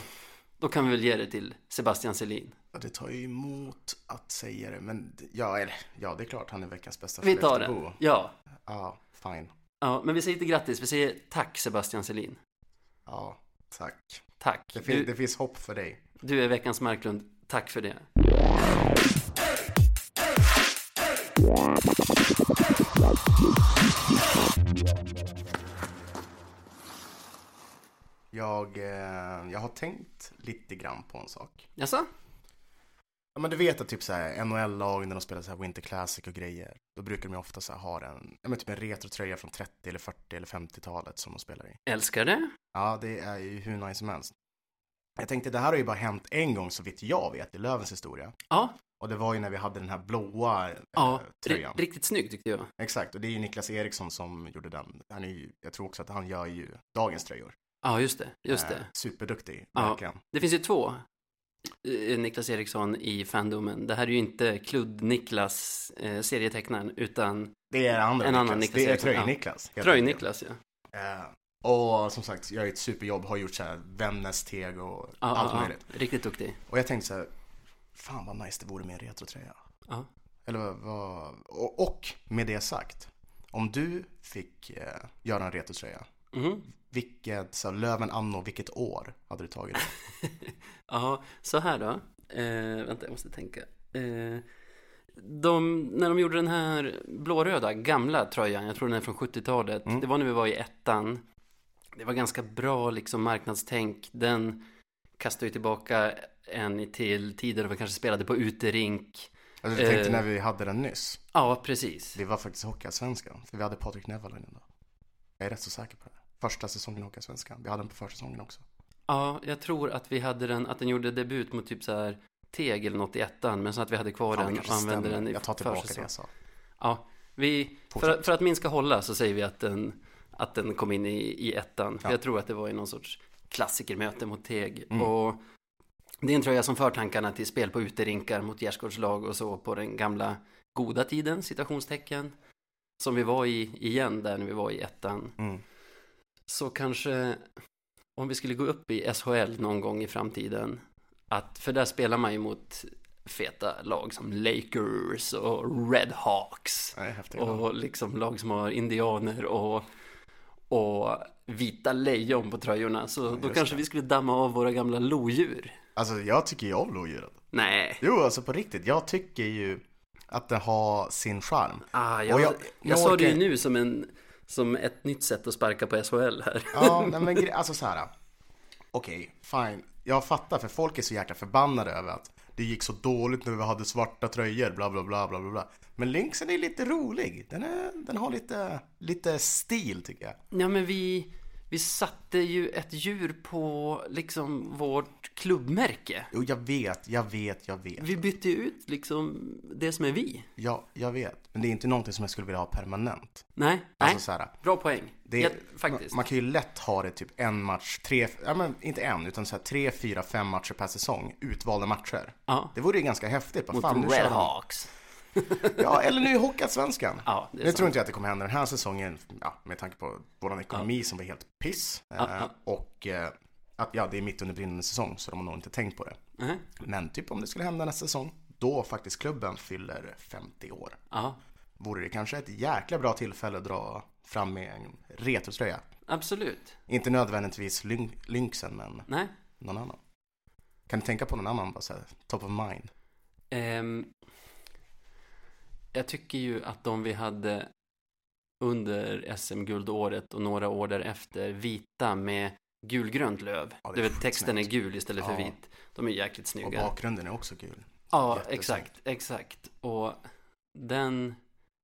S2: då kan vi väl ge det till Sebastian Selin.
S1: Ja, Det tar ju emot att säga det, men d- ja, eller, ja det är klart han är veckans bästa
S2: Vi tar
S1: Skellefteåbo.
S2: det. Ja.
S1: Ja, fine.
S2: ja, men vi säger inte grattis, vi säger tack Sebastian Selin.
S1: Ja, tack.
S2: Tack.
S1: Det, fin-
S2: Du,
S1: det finns hopp för dig.
S2: du är veckans Marklund, tack för det.
S1: Jag, eh, jag har tänkt lite grann på en sak.
S2: Jaså?
S1: Ja, men du vet att typ så här NHL-lag när de spelar så här Winter Classic och grejer, då brukar de ju ofta så här ha en, ja, men typ en retrotröja från 30 eller 40 eller 50-talet som de spelar i.
S2: Älskar det?
S1: Ja, det är ju hur nice som helst. Jag tänkte, det här har ju bara hänt en gång så vitt jag vet i Lövens historia.
S2: Ja,
S1: Och det var ju när vi hade den här blåa eh,
S2: ja
S1: tröjan.
S2: ri- riktigt snygg tyckte jag.
S1: Exakt, och det är ju Niklas Eriksson som gjorde den. Han är ju, jag tror också att han gör ju dagens tröjor.
S2: Ja, just det, just
S1: Eh,
S2: det.
S1: Superduktig,
S2: Ja.
S1: verkligen.
S2: Det finns ju två eh, Niklas Eriksson i Fandomen. Det här är ju inte Kludd-Niklas, eh, serietecknaren, utan
S1: Det är andra
S2: En
S1: Niklas.
S2: annan Niklas
S1: Det är
S2: Eriksson, ja.
S1: Tröj-Niklas. helt enkelt.
S2: Tröj-Niklas. Ja.
S1: Eh, och som sagt, gör ju ett superjobb, har gjort så här Vännäs, Teg och
S2: Ja,
S1: allt
S2: ja,
S1: möjligt.
S2: ja. Riktigt duktig.
S1: Och jag tänkte så här, fan vad nice det vore med en retrotröja.
S2: Ja.
S1: Eller vad- vad, och, och med det sagt, om du fick eh, göra en retrotröja,
S2: Mhm.
S1: vilket, så här, Löven Anno, vilket år hade du tagit det?
S2: Ja, så här då. Eh, vänta, jag måste tänka. Eh, de, när de gjorde den här blåröda, gamla tröjan, jag tror den är från 70-talet.
S1: Mm.
S2: Det var när vi var i ettan. Det var ganska bra liksom marknadstänk. Den kastade ju tillbaka en till tider då vi kanske spelade på uterink.
S1: Alltså, jag tänkte
S2: Eh.
S1: när vi hade den nyss.
S2: Ja, precis.
S1: Det var faktiskt Hockeyallsvenskan, för vi hade Patrik Nevalainen då. Jag är rätt så säker på det. Första säsongen i Hockeyallsvenskan. Vi hade den på försäsongen också.
S2: Ja, jag tror att vi hade den, att den gjorde debut mot typ så här Teg eller något i ettan, men så att vi hade kvar
S1: Fan, det
S2: den och
S1: kanske
S2: använde
S1: stämmer.
S2: den i
S1: Jag tar tillbaka det
S2: försäsong.
S1: jag sa.
S2: Ja, vi, för,
S1: Fortsätt.
S2: för att minska hålla så säger vi att den, att den kom in i, i ettan. För
S1: Ja.
S2: jag tror att det var i någon sorts klassikermöte mot Teg.
S1: Mm.
S2: Och det är en tröja som för tankarna till spel på uterinkar mot gärdsgårdslag och så på den gamla goda tiden, citationstecken. Som vi var i igen där när vi var i ettan.
S1: Mm.
S2: Så kanske om vi skulle gå upp i SHL någon gång i framtiden. Att, för där spelar man ju mot feta lag som Lakers och Red Hawks.
S1: Det är häftigt.
S2: Och liksom lag som har indianer och, och vita lejon på tröjorna. Så då
S1: just
S2: kanske
S1: det.
S2: vi skulle damma av våra gamla lodjur.
S1: Alltså jag tycker ju om lodjuret.
S2: Nej,
S1: Jo, alltså på riktigt. Jag tycker ju att det har sin charm.
S2: ah,
S1: Och jag-
S2: jag, jag,
S1: jag
S2: sa det ju
S1: orkar-
S2: nu som, en, som ett nytt sätt att sparka på SHL här.
S1: Ja, nej, men gre- alltså så här. Okej, fine. Jag fattar för folk är så jäkla förbannade över att det gick så dåligt när vi hade svarta tröjor, bla bla bla bla bla. bla. Men Lynxen är lite rolig. Den, är, den har lite, lite stil tycker jag.
S2: Ja, men vi, vi satte ju ett djur på liksom vårt klubbmärke.
S1: Jo, jag vet, jag vet, jag vet.
S2: Vi bytte ju ut liksom det som är vi.
S1: Ja, jag vet. Men det är inte någonting som jag skulle vilja ha permanent.
S2: Nej, nej.
S1: Alltså så här.
S2: Bra poäng.
S1: Det,
S2: ja, faktiskt.
S1: Man, man kan ju lätt ha det typ en match, tre, ja men inte en, utan så här tre, fyra, fem matcher per säsong, utvalda matcher.
S2: Ja.
S1: Det vore ju ganska häftigt. Bara,
S2: Mot
S1: fan, nu
S2: Red
S1: kör de-
S2: Hawks.
S1: Ja, eller nu i Hockeyallsvenskan.
S2: Ja, det är
S1: nu
S2: sant.
S1: tror inte jag att det kommer hända den här säsongen, ja, med tanke på vår ekonomi som var helt piss. eh,
S2: ja.
S1: Och eh, att ja, det är mitt under brinnande säsong, så de har nog inte tänkt på det.
S2: Nej.
S1: Men typ om det skulle hända nästa säsong, då faktiskt klubben fyller 50 år.
S2: Ja,
S1: Vore det kanske ett jäkla bra tillfälle att dra fram med en retrotröja.
S2: absolut.
S1: Inte nödvändigtvis lyn- Lynxen, men
S2: Nej.
S1: någon annan. Kan du tänka på någon annan, bara så här, top of mind?
S2: Ehm, jag tycker ju att de vi hade under SM-guldåret och några år därefter, vita med gulgrönt löv.
S1: Ja, det är
S2: du vet,
S1: sjukt
S2: texten är
S1: snyggt.
S2: gul istället för
S1: Ja.
S2: vit. De är jäkligt snygga.
S1: Och bakgrunden är också kul.
S2: Ja,
S1: Jättesnyggt.
S2: exakt, exakt. Och den,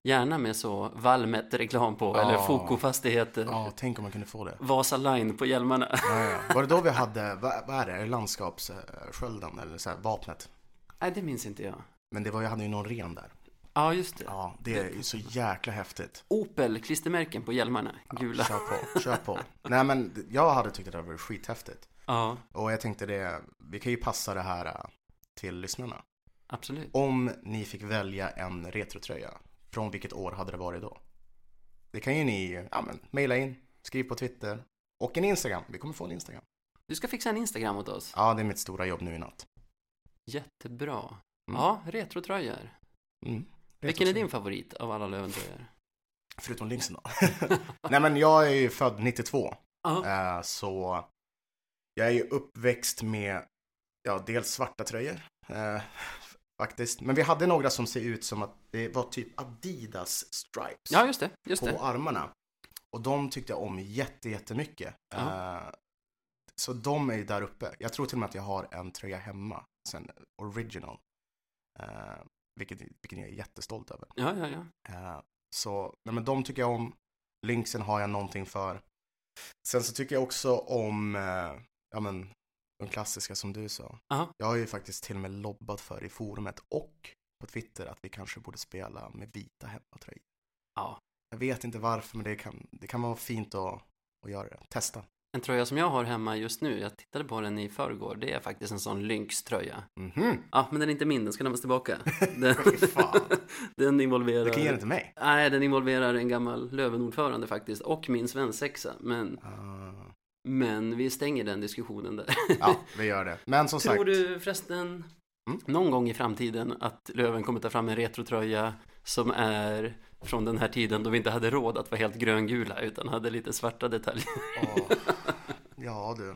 S2: gärna med så Valmet-reklam på,
S1: Ja.
S2: eller Foko-fastigheter.
S1: Ja, tänk om man kunde få det.
S2: Vasa Line på hjälmarna.
S1: Ja, ja. Var det då vi hade, vad, vad är det, landskapsskölden eller så här, vapnet?
S2: Nej, det minns inte jag.
S1: Men det var, jag hade ju någon ren där.
S2: Ja, just det.
S1: Ja, det är ju så jäkla häftigt.
S2: Opel-klistermärken på hjälmarna, gula.
S1: Kör på, kör på. Nej men jag hade tyckt att det var skithäftigt.
S2: Ja,
S1: Och jag tänkte det, vi kan ju passa det här äh, till lyssnarna.
S2: absolut.
S1: Om ni fick välja en retrotröja, från vilket år hade det varit då? Det kan ju ni, ja men, mejla in, skriv på Twitter och en Instagram. Vi kommer få en Instagram.
S2: Du ska fixa en Instagram åt oss.
S1: Ja, det är mitt stora jobb nu i natt.
S2: Jättebra.
S1: Mm.
S2: Ja, retrotröjor.
S1: Mm.
S2: Vilken är din favorit av alla Löventröjor?
S1: Förutom Lynxen då. Nej men jag är ju född 92.
S2: Ja,
S1: eh, Så jag är ju uppväxt med, ja dels svarta tröjor. eh, Faktiskt. Men vi hade några som ser ut som att det var typ Adidas stripes
S2: ja just det, just
S1: på
S2: det.
S1: armarna. Och de tyckte jag om jätte, jättemycket.
S2: Ja.
S1: Eh, Så de är ju där uppe. Jag tror till och med att jag har en tröja hemma. Sen original. Eh, Vilket, vilken jag är jättestolt över.
S2: Ja, ja, ja.
S1: Eh, Så nej, men de tycker jag om. Lynxen har jag någonting för. Sen så tycker jag också om eh, ja, men, de klassiska som du sa.
S2: Ja.
S1: Jag har ju faktiskt till och med lobbat för i forumet och på Twitter att vi kanske borde spela med vita hemmatröjor.
S2: Ja.
S1: Jag vet inte varför men det kan, det kan vara fint att, att göra det. Testa.
S2: En tröja som jag har hemma just nu, jag tittade på den i förrgår, det är faktiskt en sån Lynx-tröja.
S1: Mhm.
S2: Ja, men den är inte min, den ska lämnas tillbaka. Den,
S1: Fy fan.
S2: den involverar...
S1: Du kan ge den till mig.
S2: Nej, den involverar en gammal Lövenordförande faktiskt, och min svensexa. Men,
S1: Ah.
S2: men vi stänger den diskussionen där.
S1: ja, vi gör det. Men som
S2: Tror
S1: sagt,
S2: du förresten
S1: Mm.
S2: någon gång i framtiden att Löven kommer ta fram en retrotröja som är från den här tiden då vi inte hade råd att vara helt gröngula utan hade lite svarta detaljer?
S1: Åh. ja du.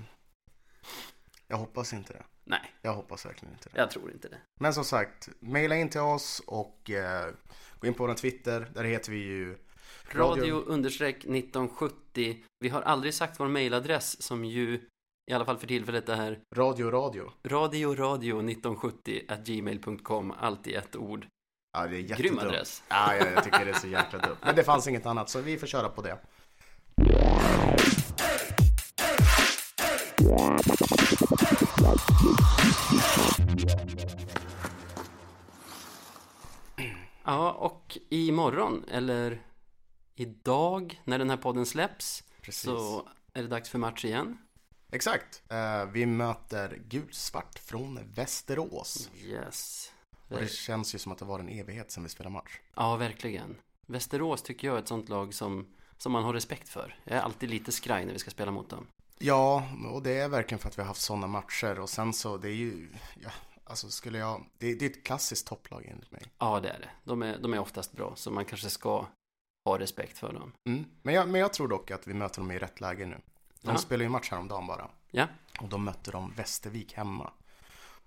S1: Jag hoppas inte det.
S2: Nej,
S1: Jag hoppas verkligen inte det.
S2: jag tror inte det.
S1: Men som sagt, mejla in till oss och eh, gå in på vår Twitter. Där heter vi ju
S2: Radio understreck 1970. Vi har aldrig sagt vår mejladress som ju i alla fall för tillfället är
S1: Radio Radio.
S2: radio radio 1970 at gmail.com. Allt i ett ord.
S1: Ja, det är jättedumt.
S2: Grym adress.
S1: Ja, jag, jag tycker det är så jäkla dumt. Men det fanns inget annat, så vi får köra på det.
S2: Ja, och imorgon, eller Idag, när den här podden släpps,
S1: Precis.
S2: så är det dags för match igen.
S1: Exakt. Eh, vi möter gulsvart från Västerås.
S2: Yes.
S1: Och det känns ju som att det var en evighet sedan vi spelade match.
S2: Ja, verkligen. Västerås tycker jag är ett sånt lag som, som man har respekt för. Jag är alltid lite skraj när vi ska spela mot dem.
S1: Ja, och det är verkligen för att vi har haft sådana matcher och sen så, det är ju, ja, alltså skulle jag, det, det är ett klassiskt topplag enligt mig.
S2: Ja, det är det. De är, de är oftast bra, så man kanske ska ha respekt för dem.
S1: Mm. Men, jag, men jag tror dock att vi möter dem i rätt läge nu. De
S2: Ja.
S1: spelar ju match häromdagen bara.
S2: Ja.
S1: Och de mötte de Västervik hemma.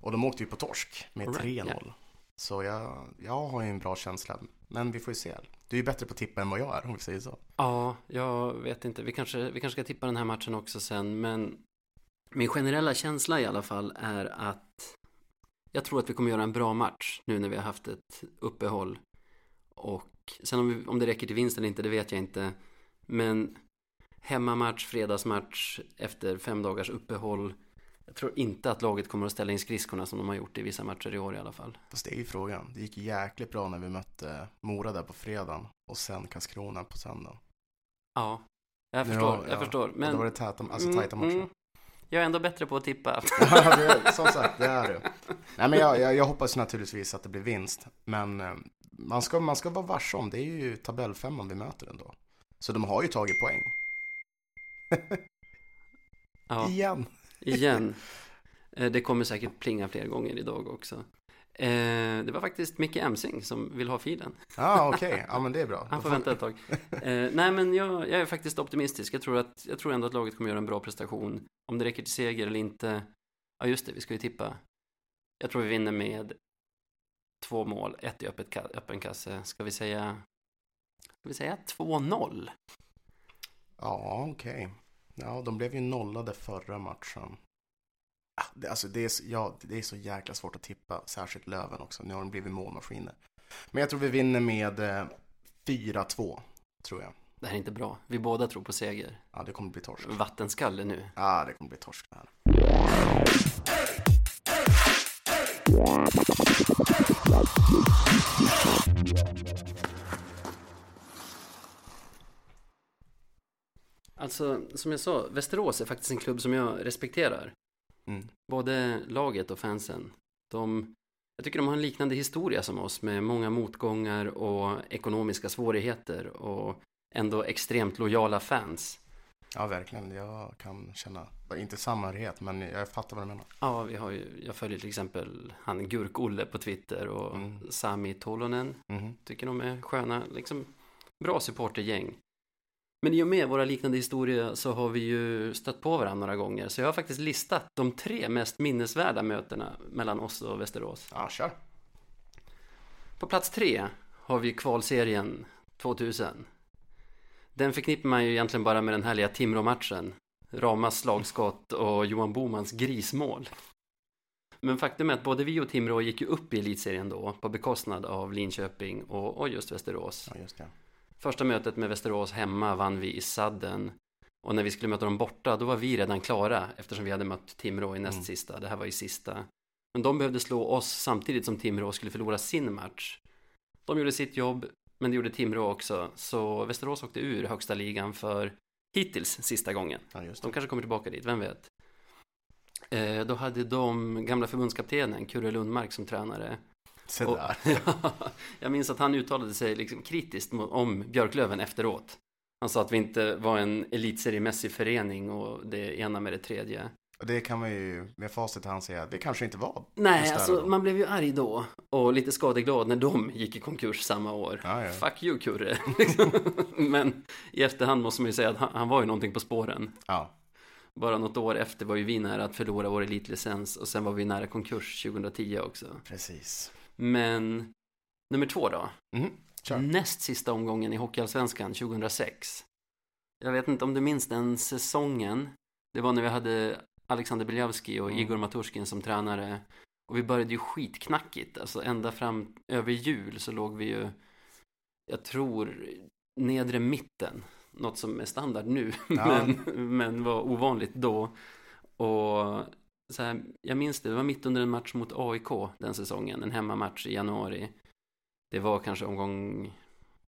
S1: Och de åkte ju på torsk med
S2: Alright,
S1: 3-0. Så jag, jag har ju en bra känsla. Men vi får ju se. Du är ju bättre på att tippa än vad jag är om vi säger så.
S2: Ja, jag vet inte. Vi kanske, vi kanske ska tippa den här matchen också sen, men min generella känsla i alla fall är att jag tror att vi kommer göra en bra match nu när vi har haft ett uppehåll. Och sen om, vi, om det räcker till vinst eller inte, det vet jag inte. Men hemmamatch, fredagsmatch efter fem dagars uppehåll. Jag tror inte att laget kommer att ställa in skridskorna som de har gjort i vissa matcher i år i alla fall.
S1: Fast det är ju frågan. Det gick ju jäkligt bra när vi mötte Mora där på fredagen. Och sen Karlskrona på söndagen.
S2: Ja, jag
S1: Ja,
S2: förstår.
S1: ja.
S2: Jag förstår.
S1: Men... Då
S2: Men
S1: var det täta, alltså tajta matcher.
S2: mm. jag är ändå bättre på att tippa.
S1: Ja, det, som sagt, det är det. Nej, men jag, jag, jag hoppas naturligtvis att det blir vinst. Men eh, man ska, man ska vara varse om, det är ju tabellfemman vi möter ändå. Så de har ju tagit poäng.
S2: Ja.
S1: Igen.
S2: Igen. Eh, Det kommer säkert plinga fler gånger idag också. Eh, Det var faktiskt Micke Emsing som vill ha filen.
S1: Ja, ah, okej. Ja, men det är bra.
S2: Han får vänta ett tag. Eh, Nej, men jag, jag är faktiskt optimistisk. Jag tror, att, jag tror ändå att laget kommer göra en bra prestation. Om det räcker till seger eller inte. Ja, just det, vi ska ju tippa. Jag tror vi vinner med två mål, ett i öppet, ka- öppen kasse. Ska vi säga, ska vi säga 2-0?
S1: Ja, okej. Ja, de blev ju nollade förra matchen. Ah, Det, alltså det, är, så- ja, det är så jäkla svårt att tippa, särskilt Löven också. Nu har de blivit målmaskiner. Men jag tror vi vinner med eh, 4-2, tror jag.
S2: Det här är inte bra. Vi båda tror på seger.
S1: Ja, det kommer bli torsk.
S2: Vattenskalle nu.
S1: Ja, det kommer bli torsk där.
S2: Alltså, som jag sa, Västerås är faktiskt en klubb som jag respekterar.
S1: Mm.
S2: Både laget och fansen. De, jag tycker de har en liknande historia som oss med många motgångar och ekonomiska svårigheter och ändå extremt lojala fans.
S1: Ja, verkligen. Jag kan känna, inte samhörighet, men jag fattar vad du menar.
S2: Ja, vi har ju, jag följer till exempel han Gurk-Olle på Twitter och
S1: Mm.
S2: Sami Tolonen.
S1: Mhm.
S2: Tycker de är sköna, liksom bra supportergäng. Men i och med våra liknande historier så har vi ju stött på varandra några gånger. Så jag har faktiskt listat de tre mest minnesvärda mötena mellan oss och Västerås.
S1: Ja, kör.
S2: På plats tre har vi kvalserien 2000. Den förknippar man ju egentligen bara med den härliga Timrå-matchen. Ramas slagskott och Johan Bomans grismål. Men faktum är att både vi och Timrå gick ju upp i elitserien då på bekostnad av Linköping och, och just Västerås.
S1: Ja, just det.
S2: Första mötet med Västerås hemma vann vi i sadden. Och när vi skulle möta dem borta, då var vi redan klara eftersom vi hade mött Timrå i näst
S1: Mm.
S2: sista. Det här var i sista. Men de behövde slå oss samtidigt som Timrå skulle förlora sin match. De gjorde sitt jobb, men det gjorde Timrå också. Så Västerås åkte ur högsta ligan för hittills sista gången.
S1: Ja, just
S2: De
S1: det.
S2: kanske kommer tillbaka dit, vem vet? Eh, då hade de gamla förbundskaptenen, Kurre Lundmark, som tränare.
S1: Se
S2: Och-
S1: där.
S2: jag minns att han uttalade sig liksom kritiskt mot- om Björklöven efteråt. Han sa att vi inte var en elitseriemässig förening och det ena med det tredje.
S1: Och det kan man ju med facit i hand säga, det kanske inte var.
S2: Nej,
S1: Just det,
S2: alltså
S1: då.
S2: man blev ju arg då och lite skadeglad när de gick i konkurs samma år.
S1: Ja, ja.
S2: Fuck you Kurre! Liksom. Men i efterhand måste man ju säga att han, han var ju någonting på spåren.
S1: Ja,
S2: Bara något år efter var ju vi nära att förlora vår elitlicens och sen var vi nära konkurs 2010 också.
S1: precis.
S2: Men nummer två då.
S1: Mhm. Kör.
S2: Näst sista omgången i Hockeyallsvenskan 2006. Jag vet inte om du minns den säsongen. Det var när vi hade Alexander Biljavski och
S1: Mm.
S2: Igor Maturskin som tränare. Och vi började ju skitknackigt. Alltså ända fram över jul så låg vi ju, jag tror, nedre mitten. Något som är standard nu,
S1: Ja.
S2: men, men var ovanligt då. Och så här, jag minns det, det var mitt under en match mot AIK den säsongen, en hemmamatch i januari. Det var kanske omgång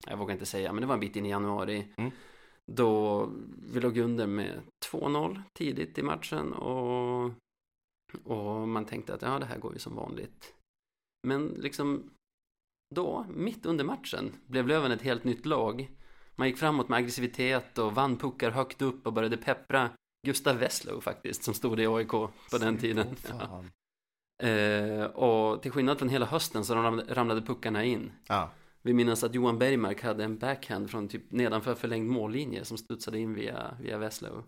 S2: jag vågar inte säga, men det var en bit in i januari.
S1: Mm.
S2: Då vi låg under med 2-0 tidigt i matchen och, och man tänkte att ja, det här går ju som vanligt. Men liksom då, mitt under matchen, blev Löven ett helt nytt lag. Man gick framåt med aggressivitet och vann puckar högt upp och började peppra Gustav Weslow faktiskt, som stod i AIK på den tiden. Ja.
S1: fan.
S2: Eh, och till skillnad från hela hösten så ramlade- ramlade puckarna in.
S1: Ja.
S2: Vi minns att Johan Bergmark hade en backhand från typ nedanför förlängd mållinje som studsade in via, via Veslow.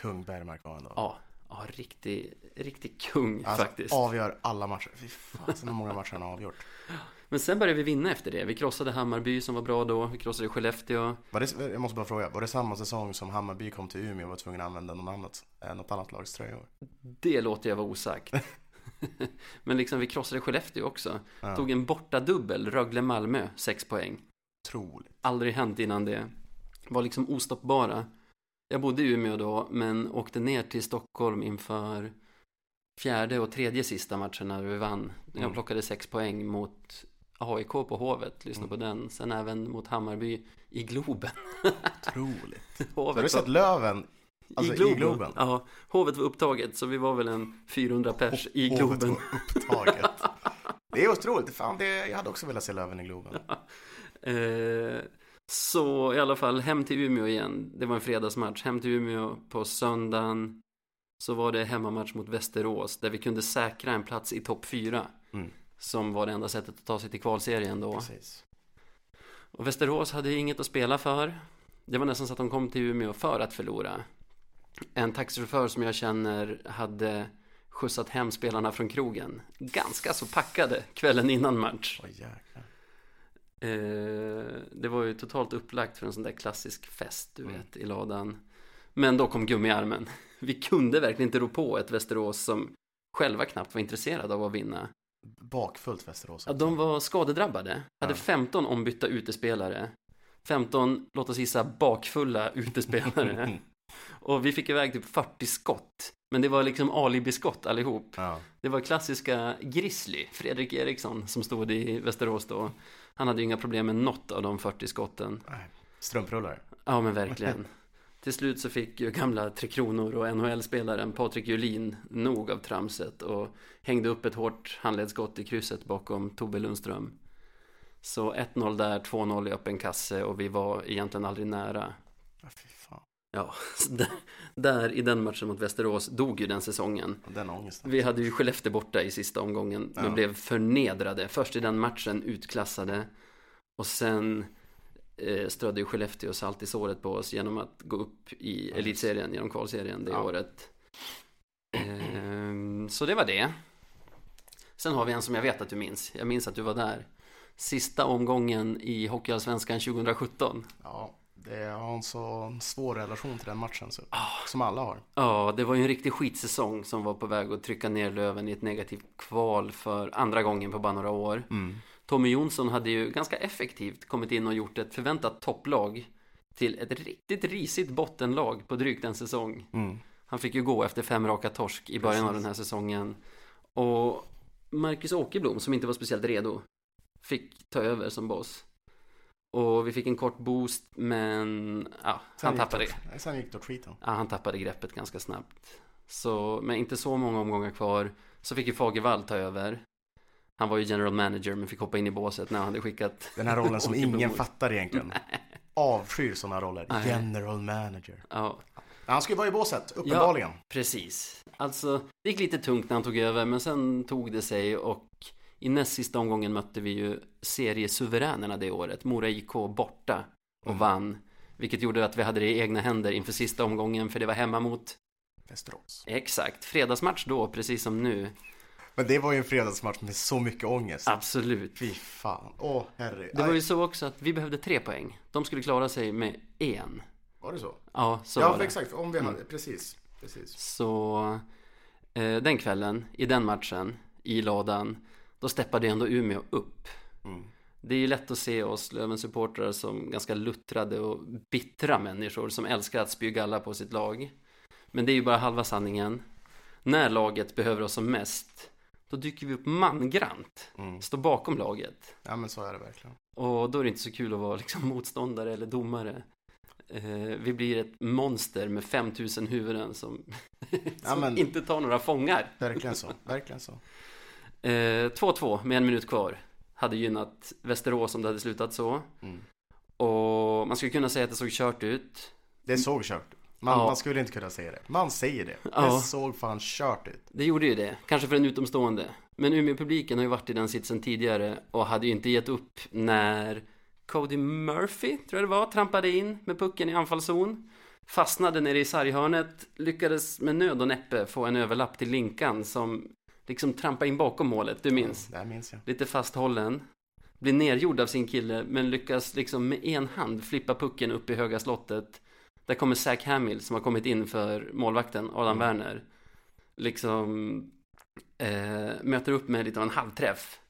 S1: Kung Bergmark var han då.
S2: Ja, ja riktig, riktig kung
S1: Alltså,
S2: faktiskt.
S1: avgör alla matcher. Fy fasen hur många matcher han har avgjort.
S2: Men sen började vi vinna efter det. Vi krossade Hammarby som var bra då, vi krossade Skellefteå.
S1: Var det, jag måste bara fråga, var det samma säsong som Hammarby kom till Umeå och var tvungen att använda någon annat, eh, något annat lags tröjor?
S2: Det låter jag vara osagt. Men liksom vi krossade Skellefteå också.
S1: Ja.
S2: Tog en borta dubbel Rögle-Malmö, 6 poäng.
S1: Otroligt.
S2: aldrig hänt innan det. Var liksom ostoppbara. Jag bodde i Umeå då, men åkte ner till Stockholm inför fjärde och tredje sista matchen när vi vann.
S1: Mm.
S2: Jag plockade sex poäng mot AIK på Hovet, lyssna på
S1: Mm.
S2: den. Sen även mot Hammarby i Globen.
S1: Otroligt.
S2: Hovet
S1: Har du sett Löven? Alltså, i Globen?
S2: Ja, Hovet var upptaget, så vi var väl en 400 pers i
S1: Hovet
S2: Globen.
S1: var upptaget. Det är otroligt. Fan, det, jag hade också velat se Löven i Globen.
S2: Eh, så i alla fall hem till Umeå igen. Det var en fredagsmatch. Hem till Umeå på söndagen. Så var det hemmamatch mot Västerås där vi kunde säkra en plats i topp fyra.
S1: Mm.
S2: Som var det enda sättet att ta sig till kvalserien då.
S1: Precis.
S2: Och Västerås hade inget att spela för. Det var nästan så att de kom till Umeå för att förlora. En taxichaufför som jag känner hade skjutsat hem spelarna från krogen. Ganska så packade kvällen innan match.
S1: Åh jäklar.
S2: Eh, det var ju totalt upplagt för en sån där klassisk fest, du
S1: Mm.
S2: vet, i ladan. Men då kom gummiarmen. Vi kunde verkligen inte rå på ett Västerås som själva knappt var intresserade av att vinna.
S1: Bakfullt Västerås.
S2: Ja, de var skadedrabbade, hade
S1: Ja.
S2: 15 ombytta utespelare. 15, låt oss gissa, bakfulla utespelare.
S1: Mm.
S2: Och vi fick iväg typ 40 skott. Men det var liksom alibiskott allihop.
S1: ja.
S2: Det var klassiska Grizzly, Fredrik Eriksson, som stod i Västerås då. Han hade ju inga problem med något av de 40 skotten.
S1: Nej. Strumprullar.
S2: Ja, men verkligen. Till slut så fick ju gamla Tre Kronor och NHL-spelaren Patrik Julin nog av tramset och hängde upp ett hårt handledsskott i krysset bakom Tobbe Lundström. Så 1-0 där, 2-0 i öppen kasse och vi var egentligen aldrig nära.
S1: Ja, fy fan.
S2: Ja, så där, där i den matchen mot Västerås dog ju den säsongen.
S1: Och den ångesten.
S2: Vi hade ju Skellefteå borta i sista omgången men
S1: Ja.
S2: blev förnedrade. Först i den matchen utklassade och sen eh, strödde ju Skellefteå salt i såret på oss genom att gå upp i
S1: Ja,
S2: elitserien, genom kvalserien det
S1: Ja.
S2: året. Ehm, så det var det. Sen har vi en som jag vet att du minns. Jag minns att du var där. Sista omgången i Hockeyallsvenskan 2017.
S1: Ja, det jag har en så svår relation till den matchen. Så. Som alla har.
S2: Ja, det var ju en riktig skitsäsong som var på väg att trycka ner Löven i ett negativt kval för andra gången på bara några år. Tommy Jonsson hade ju ganska effektivt kommit in och gjort ett förväntat topplag till ett riktigt risigt bottenlag på drygt en säsong.
S1: Mm.
S2: Han fick ju gå efter fem raka torsk i början av
S1: Precis.
S2: den här säsongen. Och Marcus Åkerblom, som inte var speciellt redo, fick ta över som boss. Och vi fick en kort boost, men ja, han
S1: gick
S2: tappade.
S1: det. Sen gick det åt skiten.
S2: Ja, han tappade greppet ganska snabbt. Så, men inte så många omgångar kvar. Så fick ju Fagervall ta över. Han var ju general manager men fick hoppa in i båset när han hade skickat.
S1: Den här rollen som ingen
S2: Åkerblommor.
S1: fattar egentligen. Avskyr sådana roller.
S2: Nej.
S1: General manager.
S2: Ja,
S1: Han ska ju vara i båset, uppenbarligen.
S2: precis. Alltså, det gick lite tungt när han tog över men sen tog det sig och i näst sista omgången mötte vi ju seriesuveränerna det året. Mora IK borta och
S1: Mm.
S2: vann. Vilket gjorde att vi hade det i egna händer inför sista omgången för det var hemma mot,
S1: Västerås.
S2: exakt, fredagsmatch då precis som nu.
S1: Men det var ju en fredagsmatch med så mycket ångest.
S2: Absolut.
S1: Fy fan. Åh, herre.
S2: Det var
S1: Aj,
S2: ju så också att vi behövde tre poäng. De skulle klara sig med en.
S1: var det så?
S2: Ja, så
S1: ja,
S2: var
S1: för
S2: det. Mm.
S1: exakt. Om vi hade... Precis. Precis.
S2: Så eh, den kvällen, i den matchen, i ladan, då steppade ju ändå Umeå upp.
S1: Mm.
S2: Det är ju lätt att se oss Lövens supportrar som ganska luttrade och bittra människor som älskar att spy galla på sitt lag. Men det är ju bara halva sanningen. När laget behöver oss som mest, då dyker vi upp mangrant,
S1: Mm.
S2: står bakom laget.
S1: Ja, men så är det verkligen.
S2: Och då är det inte så kul att vara liksom motståndare eller domare. Eh, vi blir ett monster med 5000 huvuden som, som
S1: Ja, men-
S2: inte tar några fångar.
S1: Verkligen så, verkligen så.
S2: Eh, 2-2 med en minut kvar. Hade gynnat Västerås om det hade slutat så.
S1: Mm.
S2: Och man skulle kunna säga att det såg kört ut.
S1: Det såg kört ut. man,
S2: Ja.
S1: man skulle inte kunna säga det. Man säger det.
S2: Ja.
S1: Det såg fan kört ut.
S2: Det gjorde ju det, kanske för en utomstående. Men Umeå-publiken har ju varit i den sitsen tidigare och hade ju inte gett upp när Cody Murphy, tror jag det var, trampade in med pucken i anfallszon. Fastnade nere i sarghörnet, lyckades med nöd och näppe få en överlapp till Linkan som liksom trampade in bakom målet, du minns?
S1: Det här minns jag.
S2: Lite fasthållen. Blir nergjord av sin kille, men lyckas liksom med en hand flippa pucken upp i höga slottet. Där kommer Zach Hamill som har kommit in för målvakten, Adam Werner. Liksom eh, möter upp med lite av en halvträff.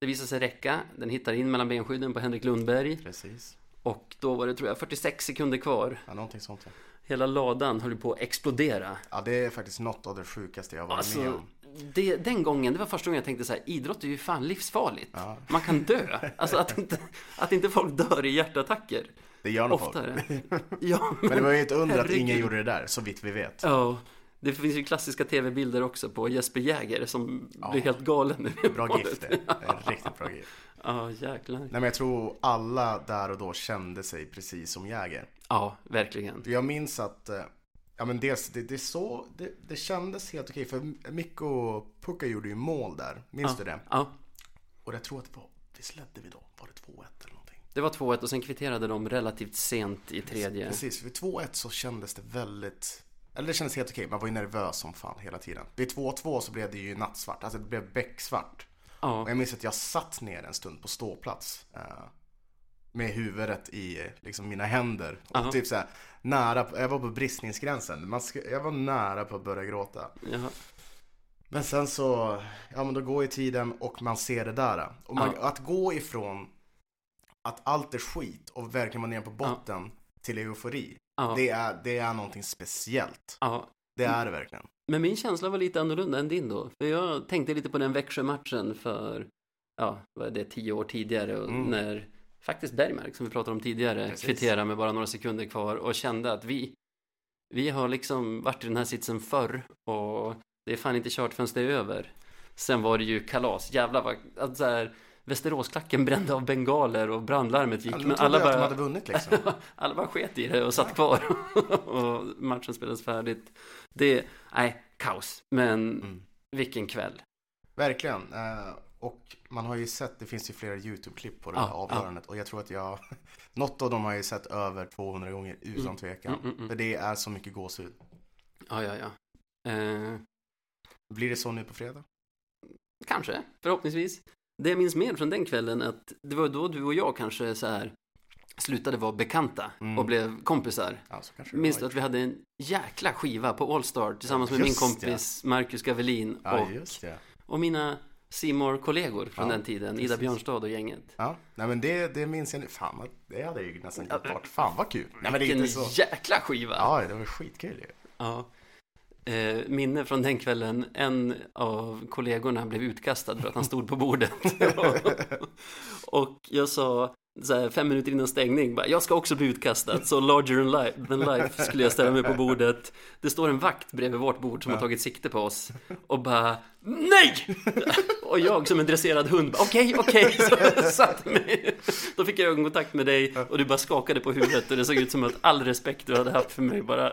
S2: Det visar sig räcka. Den hittar in mellan benskydden på Henrik Lundberg.
S1: Precis.
S2: Och då var det, tror jag, 46 sekunder kvar.
S1: Ja, någonting sånt. ja.
S2: Hela ladan höll ju på att explodera.
S1: Ja, det är faktiskt något av det sjukaste jag varit med
S2: Alltså,
S1: om.
S2: det, den gången, det var första gången jag tänkte så här, idrott är ju fan livsfarligt.
S1: Ja.
S2: Man kan dö. Alltså att inte, att inte folk dör i hjärtattacker.
S1: Det gör nog folk.
S2: Oftare. Ja, men,
S1: Men det var ju ett under att
S2: herregud.
S1: ingen gjorde det där, så vitt vi vet.
S2: Ja, det finns ju klassiska tv-bilder också på Jesper Jäger som blir helt galen.
S1: Bra gift det. En Riktigt bra gift.
S2: Ja, jäklar.
S1: Nej men jag tror alla där och då kände sig precis som Jäger.
S2: Ja, verkligen.
S1: Jag minns att, eh, ja men dels, det, det, så, det, det kändes helt okej för Mikko Pukka gjorde ju mål där, minns du det?
S2: Ja,
S1: Och jag tror att det var, visst ledde vi då? Var det 2-1 eller någonting?
S2: det var 2-1 och sen kvitterade de relativt sent i tredje.
S1: Precis, vid 2-1 så kändes det väldigt, eller det kändes helt okej, man var ju nervös som fan hela tiden. Vid 2-2 så blev det ju nattsvart, alltså det blev becksvart.
S2: Ja,
S1: Och jag minns att jag satt ner en stund på ståplats. Eh, med huvudet i eh, liksom, mina händer. Och
S2: Aha.
S1: typ så här, nära, på- jag var på bristningsgränsen. Man sk- jag var nära på att börja gråta.
S2: ja,
S1: Men sen så, ja men då går ju tiden och man ser det där. Och man,
S2: Ja.
S1: att gå ifrån att allt är skit och verkligen vara nere på botten till eufori.
S2: ja, Mm.
S1: Det, är, det är någonting speciellt.
S2: ja.
S1: Det är det verkligen.
S2: Men min känsla var lite annorlunda än din då. För jag tänkte lite på den Växjö-matchen för, ja, vad är det, tio år tidigare. Och
S1: Mm.
S2: När faktiskt Bergmark, som vi pratade om tidigare,
S1: Precis.
S2: kvitterade med bara några sekunder kvar och kände att vi, vi har liksom varit i den här sitsen förr och det är fan inte kört förrän det är över. Sen var det ju kalas, jävlar vad, att så här, Västeråsklacken brände av bengaler och brandlarmet gick.
S1: Ja, men
S2: men alla
S1: att de
S2: bara,
S1: hade vunnit liksom.
S2: alla bara sket i det och satt kvar och matchen spelades färdigt. Det, nej, kaos. Men
S1: Mm.
S2: vilken kväll.
S1: Verkligen. Eh, Och man har ju sett, det finns ju flera YouTube-klipp på det här
S2: Ja,
S1: avgörandet. Och jag tror att jag, något av dem har jag ju sett över 200 gånger utan tvekan.
S2: Mm, mm, mm.
S1: För det är så mycket gåshud.
S2: Ja, ja, ja. Eh,
S1: Blir det så nu på fredag?
S2: kanske, förhoppningsvis. Det jag minns mer från den kvällen är att det var då du och jag kanske så här slutade vara bekanta
S1: Mm.
S2: och blev kompisar.
S1: Ja, så kanske det
S2: Minns
S1: var.
S2: du att vi hade en jäkla skiva på Allstar tillsammans med
S1: Just
S2: min kompis Marcus Gavelin
S1: Ja,
S2: och,
S1: just det.
S2: och mina simor kollegor från
S1: Ja,
S2: den tiden, Ida
S1: precis.
S2: Björnstad och gänget.
S1: Ja, nej men det, det minns jag nu. Fan, vad- det hade jag ju nästan glömt bort. Fan vad kul. Nej men det är
S2: Vilken
S1: inte så.
S2: jäkla skiva!
S1: Ja, det var skitkul ju.
S2: Ja. Eh, minne från den kvällen, en av kollegorna blev utkastad för att han stod på bordet. och jag sa så här, fem minuter innan stängning, bara, jag ska också bli utkastad, så larger than life, than life skulle jag ställa mig på bordet. Det står en vakt bredvid vårt bord som har tagit sikte på oss och bara NEJ! Och jag som en dresserad hund, bara, okej, okej, så jag satte mig. Då fick jag ögonkontakt med dig och du bara skakade på huvudet och det såg ut som att all respekt du hade haft för mig bara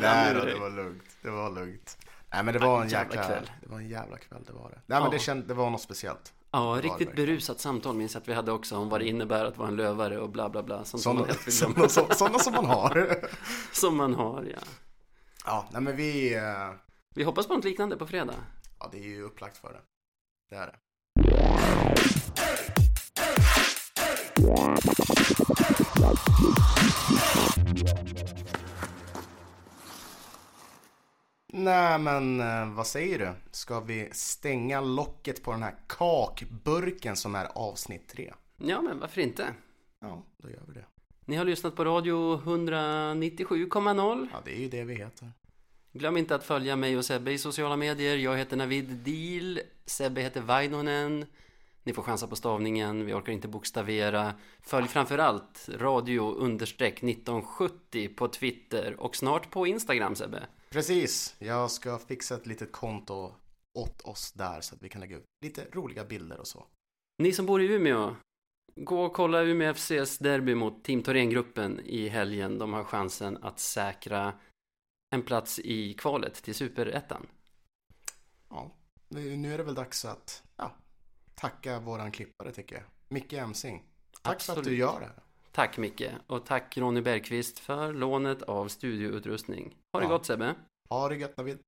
S1: Nej
S2: ur
S1: då, det
S2: dig.
S1: var lugnt. Det var lugnt. Nej men det var en
S2: jävla
S1: jäkla
S2: kväll.
S1: kväll. Det var en jävla kväll, det var det. Nej men
S2: Ja.
S1: det, känd, det var något speciellt.
S2: Ja,
S1: det
S2: riktigt
S1: verkligen.
S2: berusat samtal minns jag att vi hade också om vad det innebär att vara en lövare och bla bla bla. Sånt som, man,
S1: Sådana,
S2: helst vill glömma.
S1: sådana, sådana som man har.
S2: som man har, ja.
S1: Ja, nej men vi... eh,
S2: Vi hoppas på något liknande på fredag.
S1: Ja, det är ju upplagt för det. Det är det. Nej, men eh, vad säger du? Ska vi stänga locket på den här kakburken som är avsnitt tre?
S2: Ja, men varför inte?
S1: Ja, då gör vi det.
S2: Ni har lyssnat på radio 197,0.
S1: Ja, det är ju det vi heter.
S2: Glöm inte att följa mig och Sebbe i sociala medier. Jag heter Navid Deal. Sebbe heter Vainonen. Ni får chansa på stavningen, vi orkar inte bokstavera. Följ framförallt radio understreck 1970 på Twitter och snart på Instagram Sebbe.
S1: Precis, jag ska fixa ett litet konto åt oss där så att vi kan lägga ut lite roliga bilder och så.
S2: Ni som bor i Umeå, gå och kolla Umeå FCs derby mot Team Thorengruppen i helgen. De har chansen att säkra en plats i kvalet till Superettan.
S1: Ja, nu är det väl dags att ja, tacka våran klippare tycker jag. Micke Emsing. Tack för att du
S2: Absolut.
S1: gör det här.
S2: Tack Micke och tack Ronny Bergqvist för lånet av studioutrustning. Ha det
S1: Ja.
S2: gott Sebbe!
S1: Ha det gött David.